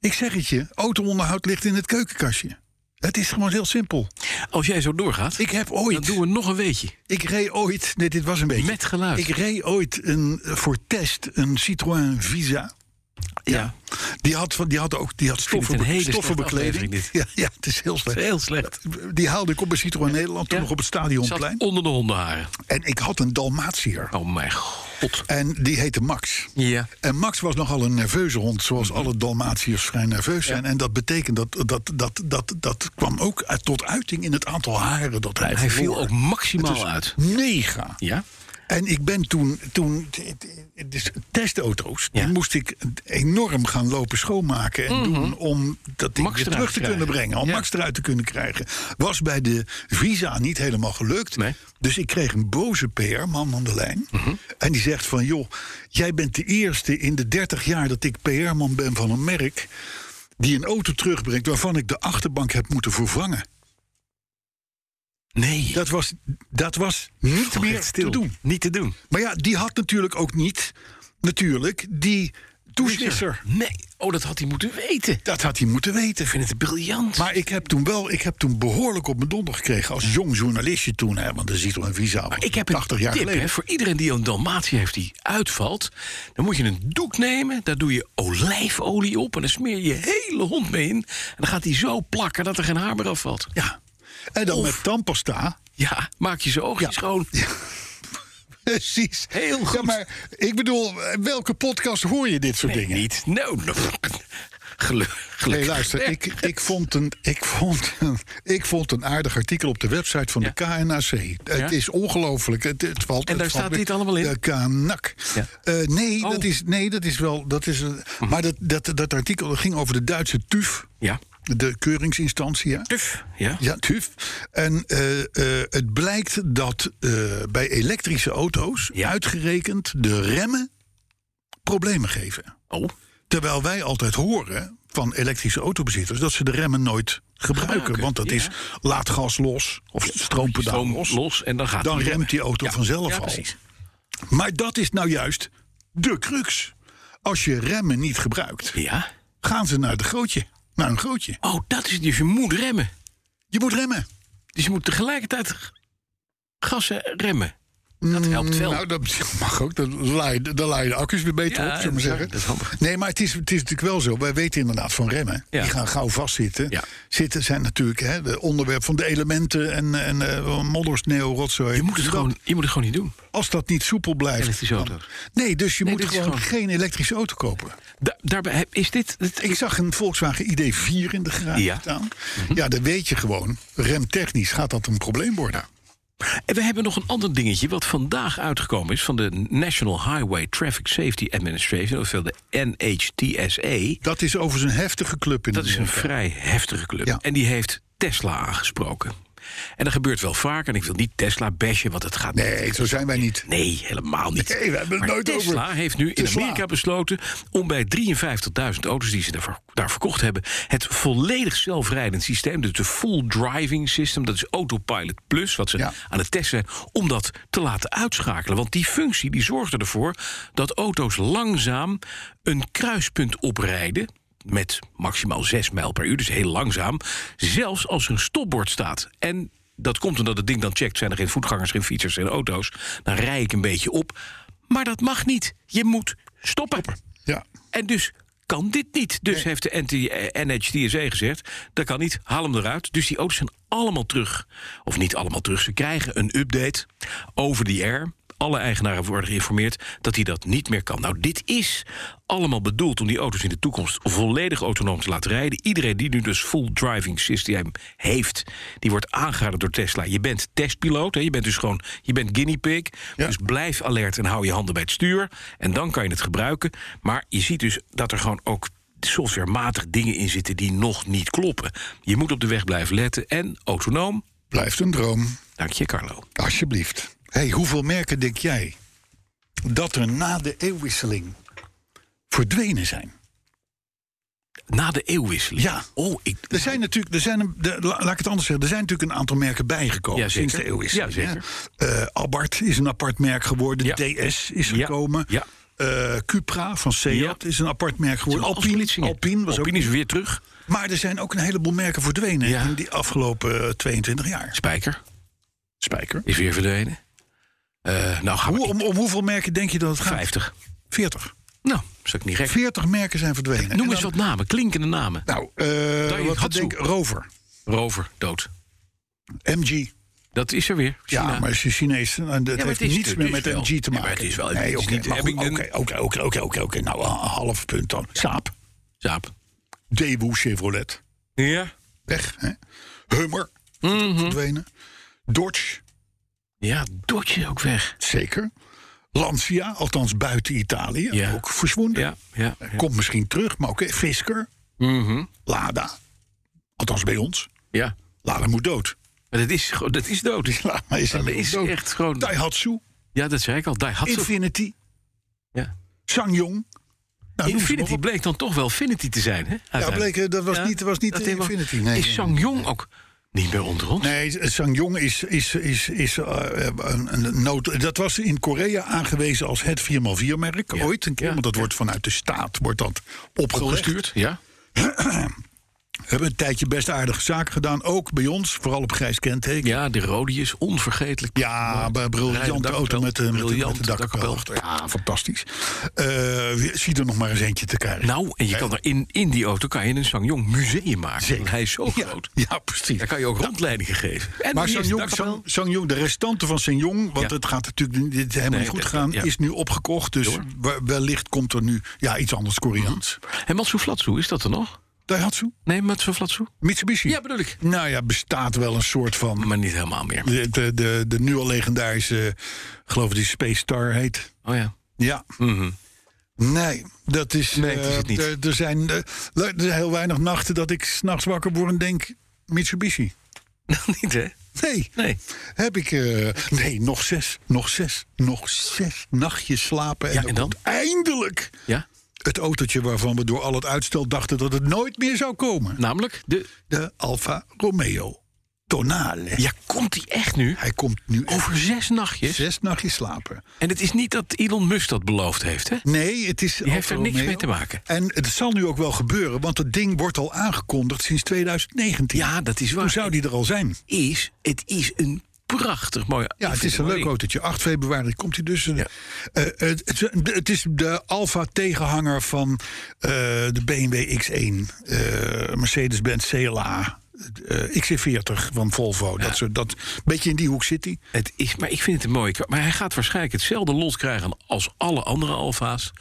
B: Ik zeg het je, auto-onderhoud ligt in het keukenkastje. Het is gewoon heel simpel.
C: Als jij zo doorgaat,
B: Ik heb
C: dan
B: ooit...
C: doen we nog een weetje.
B: Ik reed ooit, nee, dit was een beetje.
C: Met geluid.
B: Ik reed ooit een, voor test een Citroën Visa.
C: Ja.
B: Die had, van- die had ook die had
C: vind het
B: stoffen,
C: een hele
B: stoffenbekleding.
C: slechte
B: Ja, ja, het is heel slecht.
C: Heel slecht.
B: Die haalde ik op bij Citroën Nederland, toen
C: Ja.
B: nog op het
C: Zat
B: stadionplein.
C: onder de hondenharen.
B: En ik had een Dalmatier.
C: Oh mijn god.
B: En die heette Max.
C: Ja.
B: En Max was nogal een nerveuze hond, zoals
C: Mhm.
B: alle Dalmatiërs vrij nerveus zijn. En dat betekent dat dat, dat, dat dat kwam ook uit- tot uiting in het aantal haren dat hij
C: Hij viel
B: verloor.
C: ook
B: Het is
C: maximaal uit.
B: Mega.
C: Ja?
B: En ik ben toen, toen t- t- dus testauto's,
C: Ja. Mhm.
B: die moest ik enorm gaan lopen schoonmaken en doen om dat ding
C: Max
B: weer
C: eruit
B: terug te
C: te krijgen.
B: kunnen brengen, om
C: Ja.
B: Max eruit te kunnen krijgen. Was bij de Visa niet helemaal gelukt.
C: Nee. Mhm.
B: Dus ik kreeg een boze PR-man aan de lijn. En die zegt van, joh, jij bent de eerste in de 30 jaar dat ik PR-man ben van een merk... die een auto terugbrengt waarvan ik de achterbank heb moeten vervangen.
C: Nee.
B: Dat was, dat was niet meer te doen.
C: Niet te doen.
B: Maar ja, die had natuurlijk ook niet, natuurlijk, die douchewisser.
C: Nee. Oh, dat had hij moeten weten. Ik
B: Dat had hij moeten weten.
C: vind het briljant.
B: Maar ik heb toen wel, ik heb toen behoorlijk op mijn donder gekregen als jong journalistje toen, hè, want dan ziet er een visa.
C: ik heb een
B: 80 jaar
C: tip,
B: geleden.
C: Hè, voor iedereen die een Dalmatie heeft die uitvalt... dan moet je een doek nemen, daar doe je olijfolie op... en dan smeer je je hele hond mee in. En dan gaat hij zo plakken dat er geen haar meer afvalt.
B: Ja. En dan met tandpasta.
C: Ja, maak je zijn oogjes schoon.
B: Precies.
C: Heel
B: Ja,
C: goed.
B: maar ik bedoel, welke podcast hoor je dit soort
C: Nee,
B: dingen?
C: niet. No, no. Nou, Gelu- Gelukkig.
B: Nee, luister, ik, ik, vond een, ik, vond een, ik vond een aardig artikel op de website van de KNAC. Het is ongelooflijk. Het, het valt,
C: En daar
B: het valt
C: staat
B: weer-
C: dit allemaal in?
B: De KNAC.
C: Ja.
B: Eh, nee,
C: Oh. Mhm.
B: dat is, nee, dat is wel... Dat is, een- Maar dat, dat, dat artikel ging over de Duitse TUF.
C: Ja.
B: De keuringsinstantie, ja.
C: Tuf. Ja.
B: Ja, TUF. En eh, eh, het blijkt dat eh, bij elektrische auto's...
C: Ja.
B: uitgerekend de remmen problemen geven.
C: Oh.
B: Terwijl wij altijd horen van elektrische autobezitters dat ze de remmen nooit gebruiken.
C: Gebruiken,
B: want dat
C: ja.
B: is laat gas los of stroompedaal
C: Stroom
B: los.
C: los en dan gaat
B: Dan
C: hij weer
B: remt die
C: weg.
B: auto
C: Ja,
B: vanzelf
C: ja,
B: al.
C: precies.
B: Maar dat is nou juist de crux. Als je remmen niet gebruikt,
C: Ja.
B: gaan ze naar, de grootje, naar een grootje.
C: Oh, dat is het. Dus je moet remmen.
B: Je moet remmen.
C: Dus je moet tegelijkertijd g- gassen remmen. Dat helpt wel.
B: Nou, dat mag ook. Dan laai je- dan laai je de accu's weer beter
C: Ja,
B: op, zullen we
C: dat is-
B: zeggen.
C: dat is handig.
B: nee, maar het is, het is natuurlijk wel zo. Wij weten inderdaad van remmen.
C: Ja.
B: Die gaan gauw vastzitten.
C: Ja.
B: Zitten zijn natuurlijk hè, de onderwerp van de elementen en, en eh modder, sneeuw, rotzooi. Dus
C: je, moet het
B: Dat-
C: gewoon, je moet het gewoon niet doen.
B: Als dat niet soepel blijft.
C: Elektrische
B: dan-
C: auto's.
B: Nee, dus je
C: Nee,
B: moet
C: dit is
B: gewoon,
C: gewoon-
B: geen elektrische auto kopen.
C: Da- daarbij heb- is dit... dit-
B: Ik zag een Volkswagen ID4 in de garage
C: Ja. Mhm.
B: staan. Ja, dan weet je gewoon. Remtechnisch gaat dat een probleem worden.
C: En we hebben nog een ander dingetje wat vandaag uitgekomen is... van de National Highway Traffic Safety Administration, ofwel de NHTSA.
B: Dat is overigens een heftige club in
C: Dat is een
B: Amerika.
C: vrij heftige club.
B: Ja.
C: En die heeft Tesla aangesproken. En dat gebeurt wel vaker. En ik wil niet Tesla bashen, want het gaat
B: Nee, zo zijn wij niet.
C: Nee, helemaal niet.
B: Nee, we hebben het
C: Maar
B: nooit over
C: Tesla heeft nu in
B: Tesla.
C: Amerika besloten om bij 53.000 auto's die ze daar, daar verkocht hebben, het volledig zelfrijdend systeem, dus de full driving system, dat is autopilot plus, wat ze
B: Ja.
C: aan het testen zijn, om dat te laten uitschakelen. Want die functie die zorgde ervoor dat auto's langzaam een kruispunt oprijden. Met maximaal 6 mijl per uur, dus heel langzaam. Zelfs als er een stopbord staat. En dat komt omdat het ding dan checkt: zijn er geen voetgangers, geen fietsers, geen auto's. Dan rij ik een beetje op. Maar dat mag niet. Je moet stoppen.
B: Ja.
C: En dus kan dit niet. Dus heeft de NT eh, NHTSA gezegd: dat kan niet, haal hem eruit. Dus die auto's zijn allemaal terug. Of niet allemaal terug. Ze krijgen een update over die air. Alle eigenaren worden geïnformeerd dat hij dat niet meer kan. Nou, dit is allemaal bedoeld om die auto's in de toekomst volledig autonoom te laten rijden. Iedereen die nu dus full driving systeem heeft, die wordt aangeraden door Tesla. Je bent testpiloot, hè? je bent dus gewoon, je bent guinea pig.
B: Ja.
C: Dus blijf alert en hou je handen bij het stuur. En dan kan je het gebruiken. Maar je ziet dus dat er gewoon ook softwarematig dingen in zitten die nog niet kloppen. Je moet op de weg blijven letten en autonoom.
B: Blijft een droom.
C: Dank je, Carlo.
B: Alsjeblieft. hey, hoeveel merken denk jij dat er na de eeuwwisseling verdwenen zijn?
C: Na de eeuwwisseling.
B: Ja.
C: Oh, ik,
B: Er zijn natuurlijk, er zijn, een- de, la- laat ik het anders zeggen, er zijn natuurlijk een aantal merken bijgekomen
C: Ja, zeker.
B: sinds de eeuwwisseling.
C: Ja, zeker.
B: hè. Eh, Abarth is een apart merk geworden,
C: Ja.
B: DS is
C: Ja,
B: gekomen.
C: ja.
B: Eh, Cupra van Seat
C: Ja.
B: is een apart merk geworden.
C: Als
B: Alpine,
C: politie.
B: Alpine was
C: Alpine
B: ook.
C: is weer terug.
B: Maar er zijn ook een heleboel merken verdwenen
C: Ja.
B: in die afgelopen eh, 22 jaar.
C: Spijker
B: Spijker.
C: is weer verdwenen. Eh, nou, gaan we
B: Hoe, om, om hoeveel merken denk je dat het gaat?
C: 50.
B: 40.
C: Nou, is ook niet gek.
B: 40 merken zijn verdwenen.
C: Noem
B: En
C: eens
B: dan-
C: wat namen, klinkende namen.
B: Nou, eh
C: Dai
B: wat ik
C: Hatsu.
B: denk Rover,
C: Rover, dood.
B: MG.
C: Dat is er weer. China.
B: Ja, maar is je Chinees. en dat
C: het
B: heeft
C: is-
B: niets
C: het
B: meer
C: is
B: met
C: wel-
B: MG te
C: Ja, maar
B: maken.
C: het is wel- het
B: Nee,
C: is
B: oké,
C: niet-
B: maar
C: heb
B: goed,
C: ik een-
B: oké, oké, oké, oké, oké, oké. Nou, een half punt dan. Saab,
C: Zaap.
B: Daewoo Chevrolet.
C: Ja.
B: Weg, hè? Hummer,
C: Hm.
B: verdwenen. Dodge,
C: Mhm. Ja, Dodge ook weg.
B: zeker. Lancia, althans buiten Italië,
C: Ja.
B: ook verzwonden.
C: Ja, ja. ja.
B: Komt misschien terug, maar oké. Fisker,
C: Mhm.
B: Lada. Althans bij ons.
C: Ja.
B: Lada moet dood.
C: Maar dat is, gewoon- dat is dood.
B: Lada is,
C: Dat
B: inmiddels
C: is
B: dood.
C: echt gewoon...
B: Daihatsu,
C: Ja, dat zei ik al. Daihatsu.
B: Infinity,
C: Ja.
B: Sangyong. Nou, noem ze maar
C: Infinity
B: op.
C: bleek dan toch wel Finity te zijn, hè?
B: Ja,
C: Uiteindelijk.
B: bleek, eh, dat was
C: Ja,
B: niet, was niet
C: dat
B: eh,
C: helemaal-
B: Infinity. Nee,
C: Is Sang-Jong ook niet meer onder ons?
B: nee eh, Sangyong is, is, is, is eh, een, een nood. Dat was in Korea aangewezen als het 4x4-merk.
C: Ja.
B: Ooit een keer,
C: Ja.
B: want dat wordt vanuit de staat wordt dat opgestuurd.
C: Opgestuurd, ja.
B: We hebben een tijdje best aardige zaken gedaan. Ook bij ons, vooral op grijs kenteken.
C: Ja, de rode is onvergetelijk.
B: Ja, bij een briljante
C: Rijden dakkapel.
B: auto met, een met, de- met
C: Briljante
B: de dakkapel
C: dakkapel.
B: achter. Ja, fantastisch. Eh, zie er nog maar eens eentje te krijgen.
C: Nou, en je kan er in, in die auto kan je een Sang-Jong museum maken. Want Hij is zo groot.
B: ja, precies.
C: Daar kan je ook rondleidingen geven. En
B: Maar
C: hier is de
B: Sang-Jong,
C: dakkapel.
B: Sang- Sang-Jong, de restanten van Sang-Jong... want
C: Ja.
B: het gaat natuurlijk niet- dit helemaal
C: Nee,
B: niet goed
C: dat-
B: gaan...
C: ja.
B: is nu opgekocht, dus
C: Door. Mhm.
B: we- wellicht komt er nu ja, iets anders Koreaans.
C: En Matsu Flatsu, is dat er nog?
B: Daihatsu,
C: Nee, Matsu Flatsu?
B: Mitsubishi.
C: Ja, bedoel ik.
B: Nou ja, bestaat wel een soort van...
C: Maar niet helemaal meer.
B: De, de, de, de nu al legendarische, geloof ik die Space Star heet.
C: Oh ja.
B: Ja.
C: Mhm.
B: Nee, dat is.
C: Nee, het is het
B: eh,
C: niet.
B: Er, er zijn, eh, er zijn heel weinig nachten dat ik s'nachts wakker word en denk: Mitsubishi.
C: Nou, niet hè?
B: Nee,
C: Nee.
B: heb ik. eh, nee, nog zes, nog zes, nog zes nachtjes slapen. En
C: Ja,
B: dan,
C: en dan?
B: komt eindelijk
C: Ja?
B: Het autootje waarvan we door al het uitstel dachten dat het nooit meer zou komen.
C: Namelijk de.
B: De Alfa Romeo Tonale.
C: Ja, komt die echt nu?
B: Hij komt nu over
C: Over zes nachtjes.
B: zes nachtjes slapen.
C: En het is niet dat Elon Musk dat beloofd heeft, hè?
B: Nee, het is.
C: Die heeft er
B: Alfa
C: niks
B: Romeo.
C: mee te maken.
B: En het zal nu ook wel gebeuren, want het ding wordt al aangekondigd sinds 2019.
C: Ja, dat is waar.
B: Hoe zou die er al zijn?
C: Is, het is een prachtig mooi.
B: Ja, het is een leuk autootje. 8 februari komt hij dus. Eh, eh, het, het- het is de Alfa-tegenhanger van eh, de BMW X1, eh, Mercedes-Benz CLA, eh, XC40 van Volvo. Dat soort, dat, beetje in die hoek zit hij.
C: Het is, maar ik vind het een mooie. ka- Maar hij gaat waarschijnlijk hetzelfde lot krijgen als alle andere Alfa's.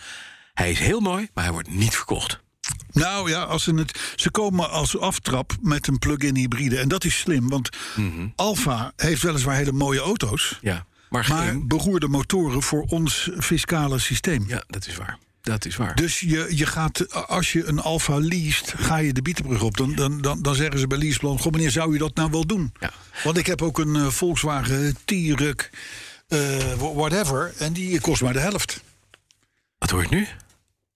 C: Hij is heel mooi, maar hij wordt niet verkocht.
B: Nou ja, als ze, het, ze komen als aftrap met een plug-in hybride. En dat is slim, want Mhm. Alfa heeft weliswaar hele mooie auto's.
C: Ja, maar,
B: Maar
C: geen-
B: beroerde motoren voor ons fiscale systeem.
C: Ja, dat is waar. Dat is waar.
B: Dus je, je gaat, als je een Alfa leest, ga je de Bietenbrug op. Dan, dan, dan, dan zeggen ze bij Leaseplan, goh meneer, zou u dat nou wel doen?
C: Ja.
B: Want ik heb ook een eh, Volkswagen T-Ruc, eh, wha- whatever, en die kost maar de helft.
C: Wat hoor ik nu?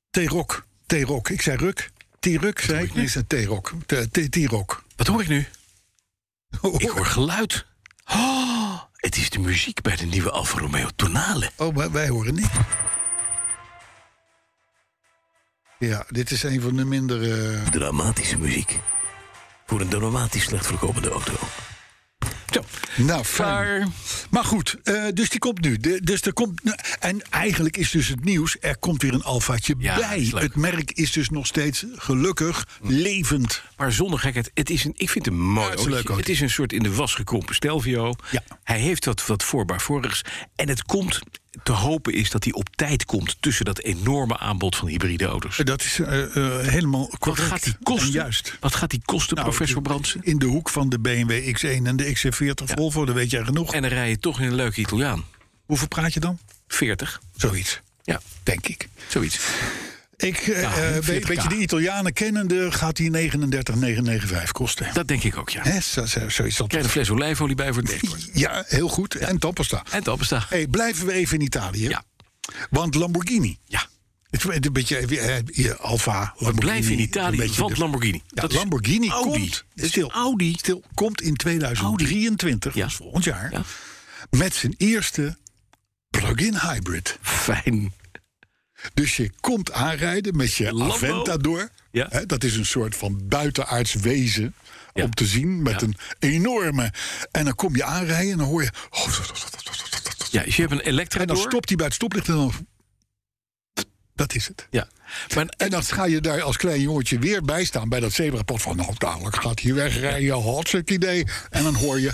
B: T-Roc, T-Roc, ik zei Ruk. T-Ruc, zei ik? Nee, ik zei T-Roc, T- T- T-Roc.
C: Wat hoor ik nu? Ik
B: Oh,
C: hoor geluid. Oh, het is de muziek bij de nieuwe Alfa Romeo Tonale.
B: Oh, maar wij horen niet. Ja, dit is een van de minder... eh,
C: Dramatische muziek. Voor een dramatisch slecht verkopende auto. Zo,
B: Nou, fijn.
C: klaar.
B: Maar goed, eh, dus die komt nu. De- dus er komt, nou, en eigenlijk is dus het nieuws, er komt weer een alfaatje
C: Ja,
B: bij.
C: is leuk. Hm.
B: Het merk is dus nog steeds gelukkig levend.
C: Maar zonder gekheid, het is een, ik vind het een mooi
B: Ja, het is een leuk
C: autootje. Het
B: autootje.
C: is een soort in de was gekrompen Stelvio.
B: Ja.
C: Hij heeft wat, wat voorbaar vorigs. En het komt, te hopen is dat hij op tijd komt... tussen dat enorme aanbod van hybride auto's.
B: Eh, Dat is eh, eh, helemaal
C: Wat
B: correct.
C: gaat die
B: En
C: kosten?
B: Juist.
C: Wat gaat die kosten,
B: Nou,
C: professor Brandsen?
B: In de hoek van de BMW X1 en de XC40 Volvo, daar weet jij genoeg.
C: En dan rij je toch in een leuke Italiaan.
B: Hoeveel praat je dan?
C: 40.
B: Zoiets,
C: Ja,
B: denk ik.
C: zoiets.
B: Ik, eh,
C: Ja,
B: eh, weet,
C: 40K.
B: weet je, de Italianen kennende gaat die 39,995 kosten.
C: Dat denk ik ook, ja.
B: Hè, zo, zo, zoiets dat.
C: Krijg je een fles olijfolie bij voor het dashboard.
B: Ja, heel goed. En tandpasta.
C: En tandpasta.
B: Hey, blijven we even in Italië.
C: Ja.
B: Want Lamborghini.
C: Ja,
B: Het is een beetje eh, eh, Alfa. Lamborghini,
C: blijf in
B: een
C: Italië,
B: beetje
C: want
B: de-
C: Lamborghini.
B: Ja,
C: Dat is
B: Lamborghini
C: Audi.
B: komt.
C: Dat is
B: Stil,
C: Audi.
B: Stil, komt in 2023,
C: Ja.
B: dus volgend jaar,
C: Ja.
B: met zijn eerste plug-in hybrid.
C: fijn.
B: Dus je komt aanrijden met je
C: Lambo.
B: Aventador.
C: Ja.
B: Hè, dat is een soort van buitenaards wezen
C: Ja.
B: om te zien met
C: Ja.
B: een enorme. En dan kom je aanrijden en dan hoor je.
C: Ja, dus je hebt een elektra
B: en dan
C: door.
B: stopt hij bij het stoplicht en dan. Dat is het.
C: Ja. Maar,
B: En dan ga je daar als klein jongetje weer bij staan bij dat zebrapad. Van nou, dadelijk gaat hij wegrijden, hartstikke idee. En dan hoor je.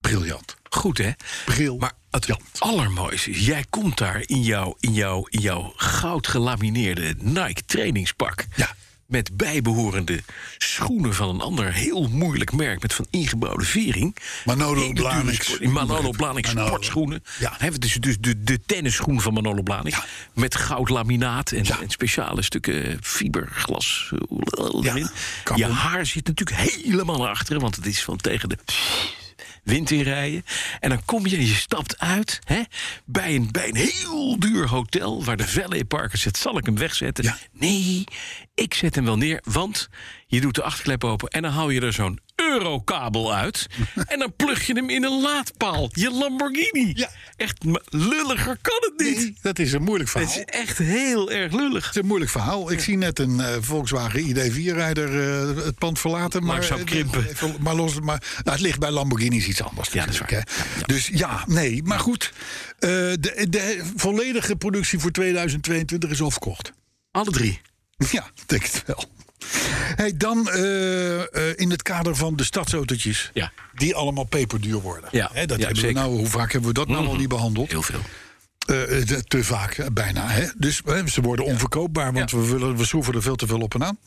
B: Briljant.
C: goed, hè?
B: Bril.
C: Maar het
B: Ja.
C: allermooiste is, jij komt daar in jouw, in jouw, in jouw goud gelamineerde Nike trainingspak.
B: Ja.
C: Met bijbehorende schoenen van een ander heel moeilijk merk met van ingebouwde vering.
B: Manolo
C: Hele dure
B: Blahniks.
C: sport- Manolo Blahnik
B: Manolo.
C: sportschoenen.
B: Ja.
C: Dan hebben we dus, dus de, de tennisschoen van Manolo Blahnik. Met goud laminaat en,
B: Ja.
C: en speciale stukken fiberglas eh,
B: Ja,
C: erin.
B: kan
C: Je
B: wel.
C: haar zit natuurlijk helemaal naar achteren, want het is van tegen de wind in rijden. En dan kom je en je stapt uit hè, bij, een, bij een heel duur hotel... waar de valet parker zit, zal ik hem wegzetten?
B: Ja.
C: Nee, ik zet hem wel neer, want je doet de achterklep open... en dan haal je er zo'n eurokabel uit... en dan plug je hem in een laadpaal, je Lamborghini.
B: Ja.
C: Echt maar lulliger kan het niet.
B: Nee, dat is een moeilijk verhaal.
C: Het is echt heel erg lullig.
B: Het is een moeilijk verhaal. Ik zie net een eh, Volkswagen ID4-rijder eh, het pand verlaten. Maar,
C: Langzaam
B: eh,
C: krimpen.
B: even- maar los, maar, nou, het ligt bij Lamborghinis iets anders.
C: Ja, dat is
B: natuurlijk, hè. Dus ja, nee. Maar goed, eh, de, de volledige productie voor 2022 is al verkocht.
C: Alle drie.
B: Ja, ik denk het wel. Hey, dan eh, eh, in het kader van de stadsautootjes.
C: Ja.
B: Die allemaal peperduur worden.
C: Ja,
B: Hè, dat
C: ja,
B: hebben
C: zeker. Mhm.
B: we nou, hoe vaak hebben we dat nou al niet behandeld?
C: Heel veel.
B: Eh, eh, te vaak, eh, bijna. Hè? Dus eh, ze worden onverkoopbaar, want we, willen, we schroeven er veel te veel op en aan.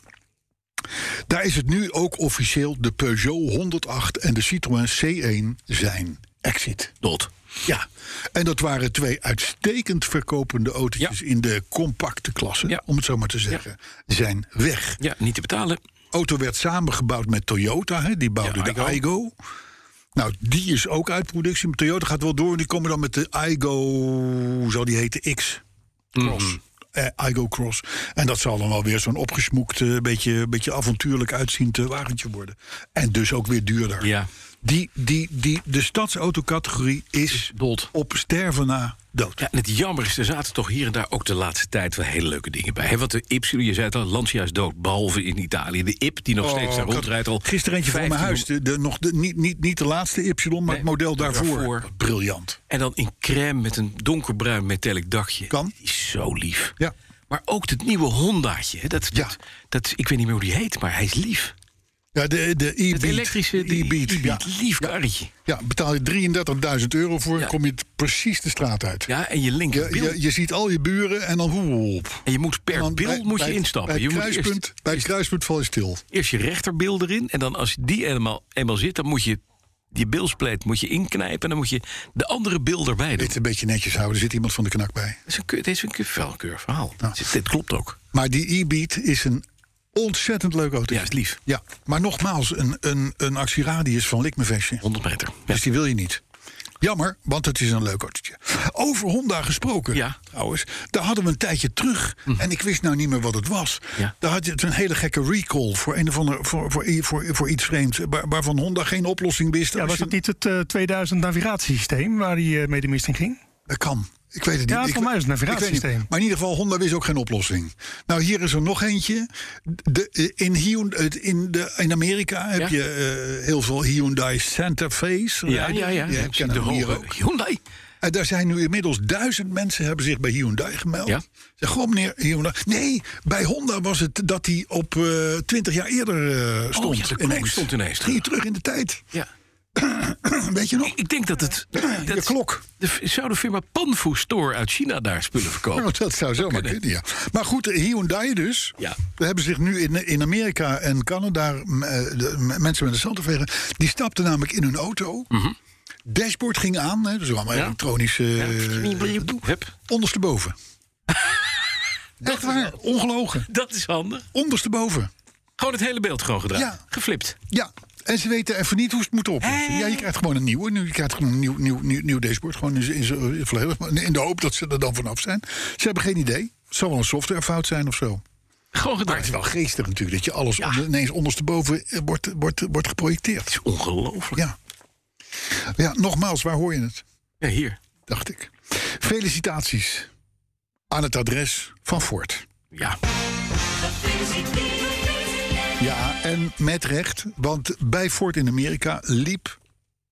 B: Daar is het nu ook officieel de Peugeot 108 en de Citroën C1 zijn exit.
C: Dot.
B: Ja, en dat waren twee uitstekend verkopende autootjes
C: Ja.
B: in de compacte klasse,
C: Ja.
B: om het zo maar te zeggen, zijn weg.
C: Ja, niet te betalen.
B: Auto werd samengebouwd met Toyota, hè? die bouwde
C: Ja,
B: de
C: Aygo.
B: Aygo. Nou, die is ook uit productie, maar Toyota gaat wel door en die komen dan met de Aygo, zal die heten X. Cross.
C: Mhm.
B: Eh, I go cross. En dat zal dan wel weer zo'n opgesmoekt, eh, beetje, beetje avontuurlijk uitziend eh, wagentje worden. En dus ook weer duurder.
C: Ja.
B: Die, die, die, de stadsautocategorie is
C: dood.
B: op sterven na dood.
C: Ja, en het jammer is, er zaten toch hier en daar ook de laatste tijd wel hele leuke dingen bij. Hè? Want de Ip, je zei het al, Lancia is dood, behalve in Italië. De Ip, die nog
B: Oh,
C: steeds daar
B: ik had
C: rondrijdt al.
B: Gisteren eentje voor mijn
C: 1500
B: huis. De, de- nog de, niet, niet, niet de laatste Y, maar het model daarvoor.
C: daarvoor.
B: Briljant.
C: En dan in crème met een donkerbruin metallic dakje.
B: Kan.
C: Die is zo lief.
B: Ja.
C: Maar ook het nieuwe Hondaatje. hè, Dat,
B: Ja.
C: dat, dat, ik weet niet meer hoe die heet, maar hij is lief.
B: Ja, de, de e-beat.
C: Het elektrische de
B: E-beat,
C: e-beat,
B: ja.
C: lief karretje.
B: ja, betaal je 33.000 euro voor...
C: Ja.
B: kom je t- precies de straat uit.
C: Ja, en je
B: Je,
C: linkerbil.
B: je, je ziet al je buren en dan... Hoep,
C: en je moet per
B: Dan
C: bil
B: bij-
C: moet
B: bij
C: je
B: het-
C: instappen.
B: Bij
C: je
B: het,
C: moet
B: kruispunt,
C: eerst,
B: bij het kruispunt val je stil.
C: eerst je rechterbil erin. En dan als die eenmaal, eenmaal zit, dan moet je die bilspleet moet je inknijpen. En dan moet je de andere bil erbij doen.
B: Dit een beetje netjes houden, er zit iemand van de knak bij.
C: Dat is een, keur- dit is een keur- wel een keur verhaal. Dit, dit klopt ook.
B: Maar die e-beat is een ontzettend leuk auto.
C: Ja, is lief.
B: Ja, maar nogmaals, een, een, een actieradius van Likmevestje.
C: 100 meter. Ja.
B: Dus die wil je niet. Jammer, want het is een leuk autootje. Over Honda gesproken,
C: Ja. Mhm.
B: trouwens. Daar hadden we een tijdje terug. En ik wist nou niet meer wat het was.
C: Ja.
B: Daar had je het een hele gekke recall voor, een of ander, voor, voor, voor, voor iets vreemds. waar- waarvan Honda geen oplossing wist.
E: Ja,
B: Als
E: was
B: je-
E: dat niet het eh, 2000 navigatiesysteem waar hij eh, mee de mist in ging?
B: Dat kan. Ik weet het niet.
E: Ja,
B: Ik
E: voor
B: we-
E: mij is het een
B: ik weet niet.
E: navigatiesysteem.
B: Maar in ieder geval, Honda wist ook geen oplossing. Nou, hier is er nog eentje. De, eh, in, Hyundai, het- in, de, in Amerika heb
C: Ja.
B: je eh, heel veel Hyundai Santa Fe's.
C: Ja, ja, ja.
B: Die
C: ja,
B: kennen
C: de
B: we hier
C: hoge
B: ook.
C: Hyundai.
B: En Eh, daar zijn nu inmiddels duizend mensen hebben zich bij Hyundai gemeld.
C: Ja.
B: Zeg gewoon meneer Hyundai. Nee, bij Honda was het dat hij op eh, twintig jaar eerder eh, stond.
C: Oh, ja, de klok stond ineens
B: Ging je terug in de tijd.
C: Ja.
B: Weet je nog?
C: Ik, ik denk dat het. dat,
B: de klok.
C: de- zou de firma Panfu Store uit China daar spullen verkopen?
B: Nou, dat zou zomaar
C: kunnen.
B: kunnen, ja. Maar goed, Hyundai dus.
C: Ja.
B: We hebben zich nu in, in Amerika en Canada... m, eh, de- m, mensen met een zandvegen... die stapten namelijk in hun auto.
C: Mhm.
B: Dashboard ging aan, hè, dus allemaal elektronische... eh,
C: Hup.
B: ondersteboven. Echt waar, ongelogen.
C: Dat is handig.
B: Ondersteboven.
C: Gewoon het hele beeld gewoon gedraaid.
B: Ja.
C: Geflipt.
B: Ja, en ze weten even niet hoe ze het moeten oplossen. Ja, je krijgt gewoon een nieuwe. Nu, je krijgt gewoon een nieuw, nieuw, nieuw, nieuw dashboard. Gewoon in, z- in, z- volledig, maar in de hoop dat ze er dan vanaf zijn. Ze hebben geen idee. Het zal wel een softwarefout zijn of zo.
C: Gewoon
B: Maar
C: gedraaid.
B: het is wel geestig natuurlijk. Dat je alles onder- ineens ondersteboven eh, wordt, wordt, wordt geprojecteerd.
C: Het is ongelooflijk.
B: Ja. ja, nogmaals, waar hoor je het?
C: Ja, hier.
B: Dacht ik. Felicitaties aan het adres van Ford.
C: Ja.
B: Ja, en met recht, want bij Ford in Amerika liep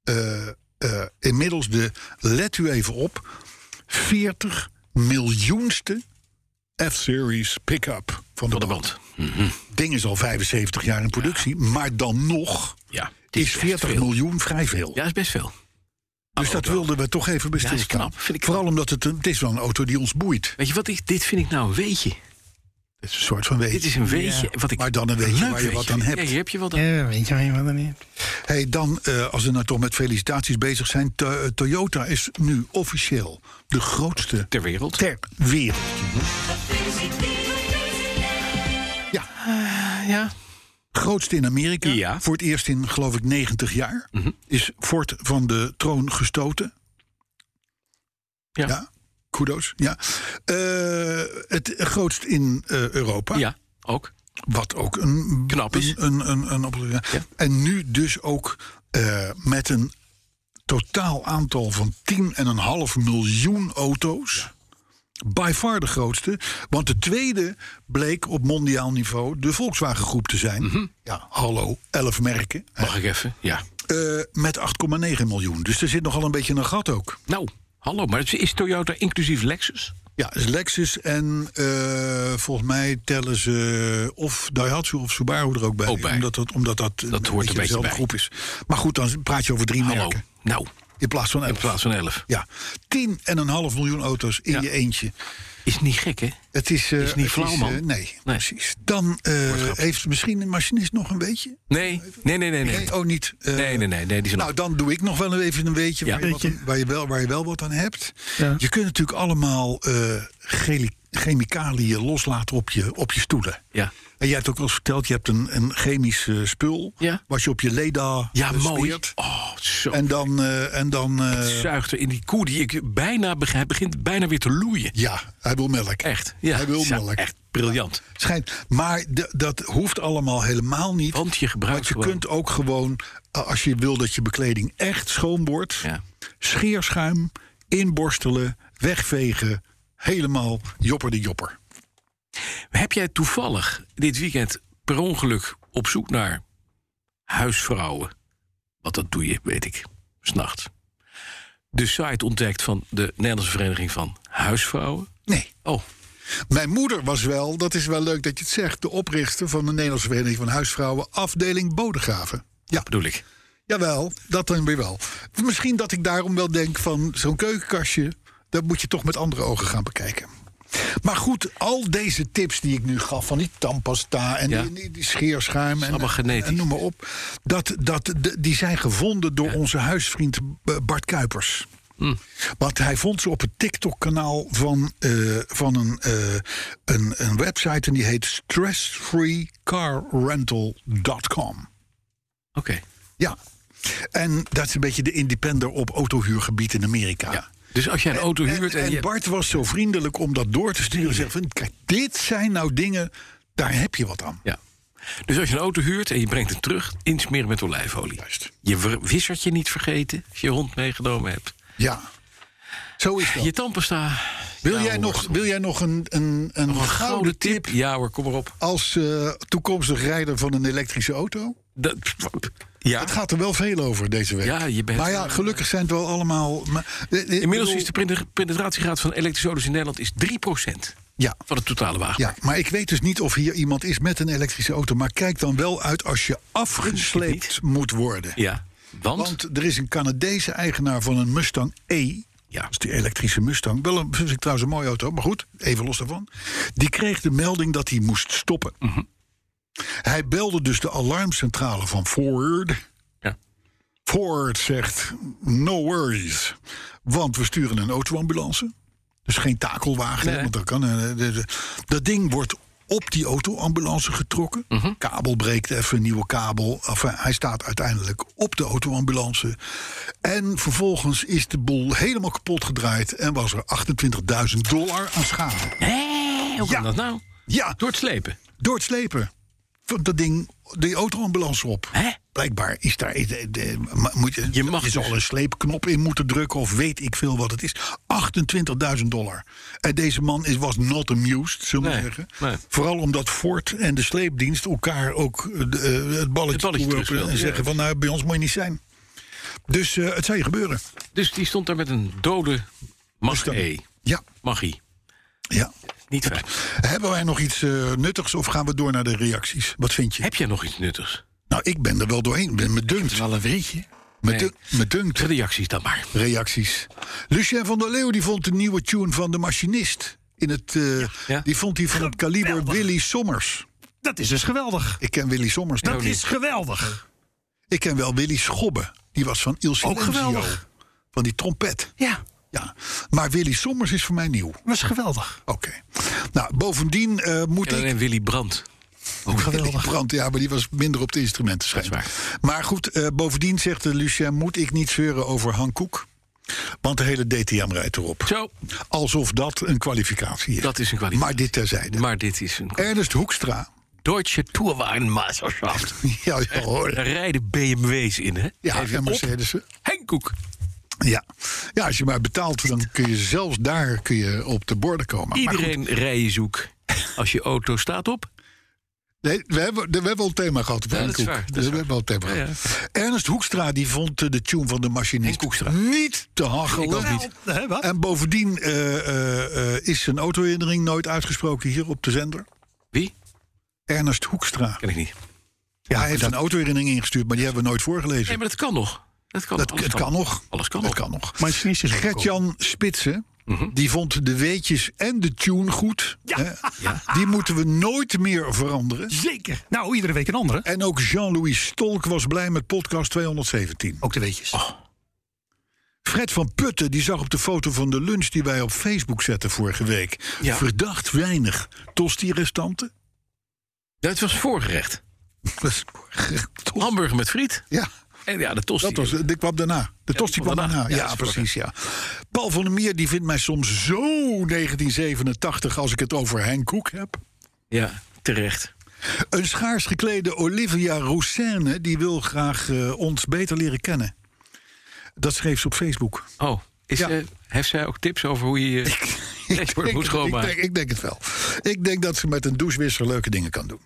B: eh, eh, inmiddels de, let u even op, 40 miljoenste F-Series pick-up van de
C: Tot de
B: band.
C: band. Mhm.
B: Ding is al 75 jaar in productie, maar dan nog
C: Ja. Dit
B: is
C: echt
B: 40
C: veel.
B: miljoen vrij veel.
C: Ja, is best veel.
B: dus dat wilden we toch even
C: Ja, is
B: bestilstaan.
C: knap, vind ik
B: Vooral omdat het, een, het is wel een auto die ons boeit.
C: Weet je wat ik. Dit vind ik nou een weetje.
B: Het is een soort van
C: Dit
B: weet.
C: is een weetje. Wat ik
B: Maar dan een weetje
C: leuk
B: waar je wat
C: weetje
B: aan
C: vind.
B: hebt.
C: Ja, hier heb je wat aan.
E: Ja, weet je wel, wat dan niet.
B: Hey, dan, eh, als we nou toch met felicitaties bezig zijn. To- eh, Toyota is nu officieel de grootste
C: Ter wereld.
B: ter wereld. Ja,
C: Ja.
B: grootste in Amerika.
C: Ja. Mhm.
B: Voor het eerst in, geloof ik, 90 jaar. Is Ford van de troon gestoten.
C: Ja.
B: Ja, kudos. Ja. Eh, het grootst in eh, Europa.
C: Ah. Ja. Ook.
B: Wat ook een
C: Knap is.
B: Een, een, een, een oplossing.
C: Ja.
B: En nu dus ook eh, met een totaal aantal van 10,5 miljoen auto's. By far de grootste. Want de tweede bleek op mondiaal niveau de Volkswagen groep te zijn. Ja, hallo, 11 merken.
C: Mag ik even? Mhm. Ja.
B: Eh, met 8,9 miljoen. Dus er zit nogal een beetje een gat ook.
C: Nou, hallo. Maar is- is Toyota inclusief Lexus?
B: Ja, dus Lexus en eh, volgens mij tellen ze of Daihatsu of Subaru er ook bij.
C: Ook bij.
B: Omdat dat, omdat dat, eh,
C: hoort een beetje
B: dezelfde
C: bij.
B: groep is. Maar goed, dan praat je over drie
C: Hallo.
B: merken.
C: Nou,
B: In plaats van
C: in
B: elf.
C: plaats van 11.
B: Ja, 10,5 miljoen auto's in
C: Ja.
B: je eentje.
C: Is niet gek, hè?
B: Het is, eh,
C: Is niet
B: het
C: flauw,
B: eh,
C: man.
B: nee,
C: Nee.
B: precies. Dan eh, heeft misschien een machinist nog een beetje.
C: Nee, nee, nee, nee. nee.
B: oh, niet. eh,
C: Nee, nee, nee, nee, die zijn
B: nou, dan doe ik nog wel even een weetje
C: Ja.
B: waar, je wat
E: Beetje.
B: aan- waar, je wel, waar je wel wat aan hebt.
E: Ja.
B: Je kunt natuurlijk allemaal eh, cheli- chemicaliën loslaten op je, op je stoelen.
C: Ja.
B: En jij hebt ook wel eens verteld, je hebt een, een chemisch eh, spul...
C: Ja.
B: wat je op je leda
C: Ja,
B: eh,
C: mooi.
B: smeert.
C: Oh, Zo.
B: En dan. eh, en dan eh,
C: zuigt er in die koe die ik bijna beg- hij begint bijna weer te loeien.
B: ja, hij wil melk.
C: Echt. Ja,
B: Hij wil
C: Zo,
B: melk.
C: Echt briljant.
B: Schijnt. Maar d- dat hoeft allemaal helemaal niet.
C: Want je gebruikt
B: Want je
C: gewoon-
B: kunt ook gewoon, eh, als je wil dat je bekleding echt schoon wordt,
C: Ja.
B: scheerschuim, inborstelen, wegvegen, helemaal jopper de jopper.
C: Heb jij toevallig dit weekend per ongeluk op zoek naar huisvrouwen? Want dat doe je, weet ik, s'nachts. De site ontdekt van de Nederlandse Vereniging van Huisvrouwen.
B: Nee.
C: Oh,
B: Mijn moeder was wel, dat is wel leuk dat je het zegt, de oprichter van de Nederlandse Vereniging van Huisvrouwen, afdeling Bodegraven. Ja,
C: bedoel ik.
B: jawel, dat dan weer wel. Misschien dat ik daarom wel denk van zo'n keukenkastje, dat moet je toch met andere ogen gaan bekijken. Maar goed, al deze tips die ik nu gaf van die tandpasta en
C: Ja.
B: die, die- die scheerschuim en,
C: allemaal
B: en,
C: genetisch.
B: en noem maar op, dat, dat, d- die zijn gevonden door onze huisvriend eh, Bart Kuipers.
C: Hm.
B: Want hij vond ze op het TikTok-kanaal van, eh, van een, eh, een, een website en die heet stressfreecarrental.com.
C: Oké.
B: Ja. En dat is een beetje de independer op autohuurgebied in Amerika.
C: Ja. Dus als jij een auto huurt en,
B: en, en
C: je...
B: Bart was zo vriendelijk om dat door te sturen. Zeg van, kijk, dit zijn nou dingen, daar heb je wat aan.
C: Ja. Dus als je een auto huurt en je brengt hem terug, insmeren met olijfolie.
B: Juist.
C: Je w- wissertje niet vergeten als je je hond meegenomen hebt.
B: Ja. Zo is dat.
C: Je tandpasta.
B: wil,
C: Ja,
B: jij
C: hoor.
B: nog, wil jij nog een, een, een
C: Nog een
B: gouden tip
C: Ja hoor, kom maar op.
B: als eh, toekomstig rijder van een elektrische auto?
C: Dat, ja.
B: Het gaat er wel veel over deze week.
C: Ja, je bent-
B: maar ja, gelukkig zijn het wel allemaal... Maar, eh, eh,
C: Inmiddels
B: bedoel-
C: is de penetra- penetratiegraad van elektrische auto's in Nederland is 3%
B: Ja,
C: van het totale wagen.
B: Ja, maar ik weet dus niet of hier iemand is met een elektrische auto. Maar kijk dan wel uit als je afgesleept moet worden.
C: Ja, Want,
B: Want er is een Canadese eigenaar van een Mustang E.
C: Ja.
B: Dat is die elektrische Mustang. Wel een, vind ik trouwens een mooie auto, maar goed, even los daarvan. Die kreeg de melding dat hij moest stoppen.
C: Mhm.
B: Hij belde dus de alarmcentrale van Ford.
C: Ja.
B: Ford zegt, no worries. Want we sturen een autoambulance. Dus geen takelwagen,
C: Nee.
B: want dat kan. eh, de- de- Dat ding wordt op die autoambulance getrokken. Kabel breekt even, nieuwe kabel. Enfin, hij staat uiteindelijk op de autoambulance. En vervolgens is de boel helemaal kapot gedraaid... en was er 28.000 dollar aan schade.
C: Hé, hoe kan
B: Ja.
C: dat nou?
B: Ja,
C: Door het slepen.
B: door het slepen. Van Dat ding, die autoambulance op.
C: Hè?
B: Blijkbaar is daar. eh, de- de- maar moet je,
C: Je mag
B: je zal
C: dus.
B: een sleepknop in moeten drukken of weet ik veel wat het is. 28.000 dollar. En deze man is, was not amused, zullen we
C: Nee,
B: zeggen.
C: nee.
B: Vooral omdat Ford en de sleepdienst elkaar ook eh, de, eh, het balletje,
C: Het balletje
B: toewerpen en
C: terugspelen,
B: zeggen: van nou, bij ons moet je niet zijn. Dus eh, het zou je gebeuren.
C: Dus die stond daar met een dode mag-e.
B: Ja,
C: Magie.
B: ja.
C: Niet fijn.
B: Hebben wij nog iets eh, nuttigs of gaan we door naar de reacties? Wat vind je?
C: Heb jij nog iets nuttigs?
B: Nou, ik ben er wel doorheen. Ik ben me dunkt.
F: Wel een vriendje.
B: Me,
C: Nee.
B: dunk- me dunkt.
C: Reacties dan maar.
B: reacties. Lucien van der Leeuw die vond de nieuwe tune van De Machinist. In het, eh,
C: ja.
B: Die vond hij van het kaliber Willy Sommers.
E: Dat is dus geweldig.
B: Ik ken Willy Sommers
E: Dat
B: niet.
E: is geweldig.
B: Ik ken wel Willy Schobbe. Die was van Il Silenzio.
E: geweldig.
B: Van die trompet.
E: Ja,
B: Ja. Maar Willy Sommers is voor mij nieuw. Oké.
E: dat is geweldig.
B: Nou, bovendien eh, moet
C: En
B: ik...
C: alleen Willy Brandt.
B: Ook geweldig. Brand, ja, maar die was minder op de instrumenten
C: Dat
B: schijnbaar.
C: is
B: Maar goed, eh, bovendien zegt eh, Lucien... moet ik niet zeuren over Han Koek? Want de hele DTM rijdt erop.
C: Zo,
B: Alsof dat een kwalificatie is.
C: dat is een kwaliteit.
B: Maar dit terzijde.
C: Maar dit is een
B: Ernest Hoekstra.
C: Deutsche Tourwagenmeisterschaft.
B: Ja, ja
C: Daar
B: hoor.
C: rijden BMW's in, hè?
B: Ja,
C: Even
B: en
C: op.
B: Mercedesen.
C: Henk Koek.
B: Ja. ja, als je maar betaalt, dan kun je zelfs daar kun je op de borden komen. Maar goed,
C: Iedereen rijden zoek. Als je auto staat op.
B: nee, we, hebben, we hebben al een thema gehad. op
C: Ja, dat
B: Henk
C: is
B: Hoek.
C: waar, dat
B: Dus
C: is
B: we hebben al een thema
C: Ja,
B: gehad. Ernst Hoekstra die vond eh, de tune van de machinist
C: Henk Hoekstra.
B: niet te hachelen.
C: Ik ook niet.
E: Nou, eh, Hè, wat?
B: En bovendien eh, eh, eh, is zijn autoherinnering nooit uitgesproken hier op de zender.
C: Wie?
B: Ernst Hoekstra.
C: Ken ik niet.
B: Ja, hij heeft een autoherinnering ingestuurd, maar die hebben we nooit voorgelezen.
C: Nee, maar dat kan nog. Dat kan,
B: Dat,
C: alles
B: het kan nog.
C: Alles kan
B: het
C: nog.
B: kan nog.
E: Mijn snis is
B: Gert-Jan Spitsen,
C: Mhm.
B: die vond de weetjes en de tune goed. Hè? Die moeten we nooit meer veranderen.
E: Zeker. Nou, iedere week een andere.
B: En ook Jean-Louis Stolk was blij met podcast 217.
E: Ook de weetjes.
B: Fred van Putten die zag op de foto van de lunch die wij op Facebook zetten vorige week.
C: Ja.
B: Verdacht weinig tosti-restanten.
C: Dat was voorgerecht. Hamburger met friet.
B: Ja,
C: En ja, de tosti.
B: Dat was, die kwam daarna. De tosti
C: die kwam
B: kwam
C: daarna.
B: daarna. Ja,
C: Ja, dat is
B: precies. Ja. Paul van der Meer die vindt mij soms zo 1987 als ik het over Henk Koek heb.
C: Ja, terecht.
B: Een schaars geklede Olivia Roussene die wil graag eh, ons beter leren kennen. Dat schreef ze op Facebook.
C: Oh, is,
B: Ja.
C: eh, heeft zij ook tips over hoe je eh, je dashboard moet
B: ik,
C: schoonmaken?
B: denk, ik denk het wel. Ik denk dat ze met een douchewisser leuke dingen kan doen.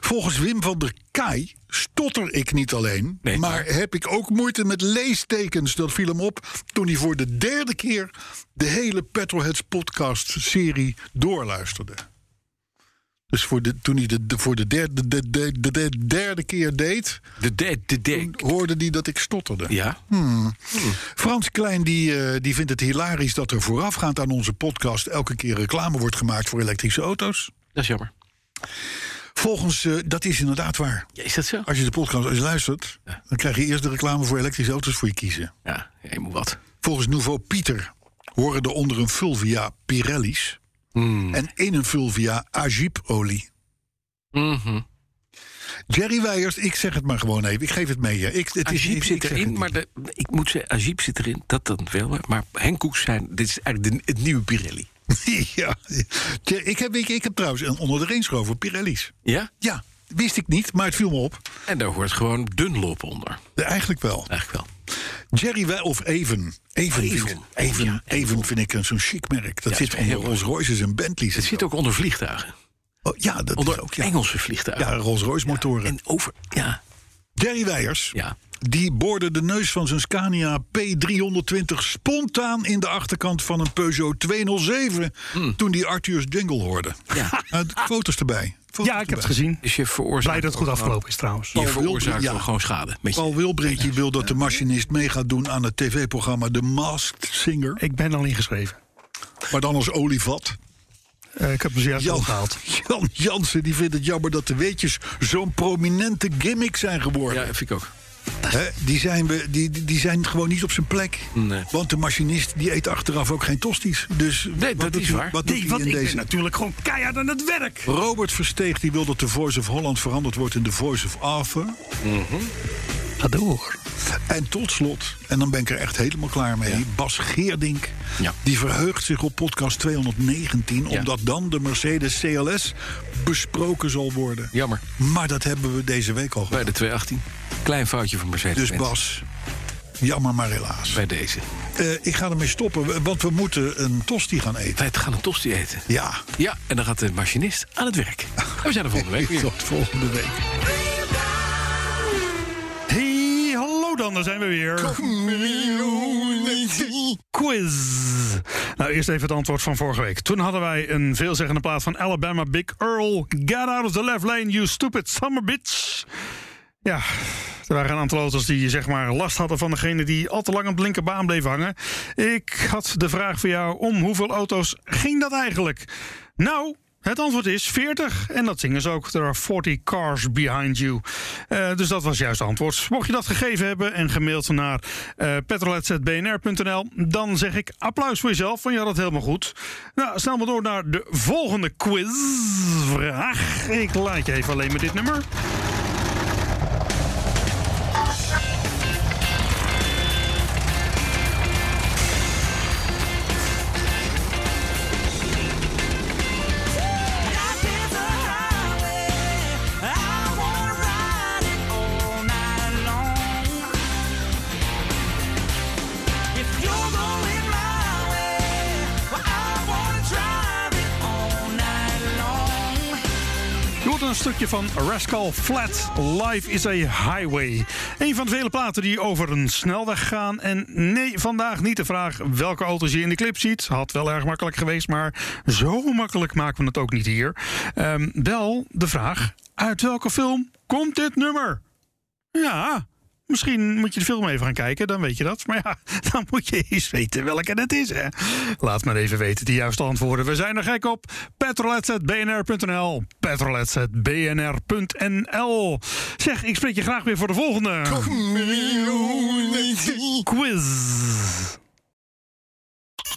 B: Volgens Wim van der Kai stotter ik niet alleen,
C: Nee.
B: maar heb ik ook moeite met leestekens. Dat viel hem op toen hij voor de derde keer de hele Petrolheads podcast serie doorluisterde. Dus voor de, toen hij de, de- voor de derde, de, de- de- de derde keer deed,
C: De dek, de dek.
B: hoorde hij dat ik stotterde.
C: Ja,
B: Frans Klein die, eh, die vindt het hilarisch dat er voorafgaand aan onze podcast elke keer reclame wordt gemaakt voor elektrische auto's.
C: dat is jammer.
B: Volgens, eh, dat is inderdaad waar.
C: Ja, is dat zo?
B: Als je de podcast eens luistert,
C: Ja.
B: dan krijg je eerst de reclame voor elektrische auto's voor je kiezen.
C: Ja, je moet wat.
B: Volgens Nouveau Pieter horen er onder een Fulvia Pirelli's
C: Hm.
B: en in een Fulvia Agip-olie.
C: Mhm.
B: Jerry Weijers, ik zeg het maar gewoon even. Ik geef het mee. hè. Ik, het is
C: Ajib
B: Ah, ik
C: zit
B: zeg het
C: erin,
B: niet.
C: maar de, ik moet zeggen, Ajib zit erin, dat dan wel. Maar Henk Koeks zijn, dit is eigenlijk de, het nieuwe Pirelli.
B: ja. Tje, Ik heb, ik, ik heb trouwens een onder de Range Rover Pirelli's.
C: Ja?
B: Ja, wist ik niet, maar het viel me op.
C: En daar hoort gewoon Dunlop onder.
B: Ja, Eigenlijk wel.
C: Eigenlijk wel.
B: Jerry Wij of Even. Even,
C: Even.
B: vind ik- Even,
C: Ja,
B: Even vind ik een- zo'n chic merk. Dat
C: Ja,
B: zit
C: is heel
B: onder Rolls
C: mooi.
B: Royces en Bentleys. en
C: Het zit
B: zo.
C: ook onder vliegtuigen.
B: Oh, ja, dat is
C: Onder
B: ook. Ja,
C: Engelse vliegtuigen.
B: ja Rolls Royce motoren.
C: En over, ja,
B: Jerry Weijers,
C: ja.
B: die boorde de neus van zijn Scania P320 spontaan in de achterkant van een Peugeot 207. toen die Arthur's Jingle hoorde.
C: Hmm. Ja.
B: Eh, foto's erbij. Foto's
E: Ja, ik heb
B: erbij.
E: het gezien.
C: Dus je
E: Blij
C: veroorzaakt,
E: dat het goed afgelopen is trouwens.
C: je
B: Paul
C: veroorzaakt
B: Wilbring, ja.
C: wel gewoon schade. Met je.
B: Paul Wilbrink die wil dat de machinist mee gaat doen aan het tv-programma The Masked Singer.
E: Ik ben al ingeschreven.
B: Maar dan als olievat.
E: Eh, ik heb hem zojuist
B: Jan,
E: opgehaald.
B: Jan Jansen die vindt het jammer dat de weetjes zo'n prominente gimmick zijn geworden.
C: Ja, vind ik ook.
B: Hè, die, zijn we, die, die- die zijn gewoon niet op zijn plek.
C: Nee.
B: Want de machinist die eet achteraf ook geen tosties. Dus
C: Nee, dat
B: doet
C: is
B: hij-
C: waar.
B: Wat doet
E: Nee,
B: hij
E: want
B: in
E: ik
B: deze?
E: ben natuurlijk gewoon keihard aan het werk.
B: Robert Versteeg die wil dat de Voice of Holland veranderd wordt in de Voice of Arthur.
E: Ga door.
B: En tot slot, en dan ben ik er echt helemaal klaar mee. Bas Geerdink,
C: Ja.
B: die verheugt zich op podcast 219...
C: Ja.
B: omdat dan de Mercedes CLS besproken zal worden.
C: Jammer.
B: Maar dat hebben we deze week al
C: Bij
B: gehad.
C: de 218. Klein foutje van Mercedes.
B: Dus Bas, jammer maar helaas.
C: Bij deze.
B: Eh, ik ga ermee stoppen, want we moeten een tosti gaan eten.
C: Wij gaan een tosti eten.
B: Ja,
C: Ja, en dan gaat de machinist aan het werk. En we zijn er volgende week weer.
B: tot volgende week.
E: Hey, hallo dan, daar zijn we weer. Quiz. Nou, eerst even het antwoord van vorige week. Toen hadden wij een veelzeggende plaat van Alabama Big Earl. Get out of the left lane, you stupid summer bitch. Ja, er waren een aantal auto's die zeg maar last hadden van degene die al te lang op de linkerbaan bleef hangen. Ik had de vraag voor jou, om hoeveel auto's ging dat eigenlijk? Nou, het antwoord is 40. En dat zingen ze ook. There are 40 cars behind you. Eh, dus dat was juist het antwoord. Mocht je dat gegeven hebben en gemaild naar eh petrolheads@bnr.nl, dan zeg ik applaus voor jezelf, want je had het helemaal goed. Nou, snel maar door naar de volgende quizvraag. Ik laat je even alleen met dit nummer. Je hoort een stukje van Rascal Flat. Life is a Highway. Een van de vele platen die over een snelweg gaan. En nee, vandaag niet de vraag welke auto's je in de clip ziet. Had wel erg makkelijk geweest, maar zo makkelijk maken we het ook niet hier. Ehm, wel de vraag: uit welke film komt dit nummer? Ja. Misschien moet je de film even gaan kijken, dan weet je dat. Maar ja, dan moet je eens weten welke het is. Hè? Laat maar even weten de juiste antwoorden. We zijn er gek op. Petrolets.bnr.nl Petrolets.bnr.nl Zeg, ik spreek je graag weer voor de volgende. Quiz.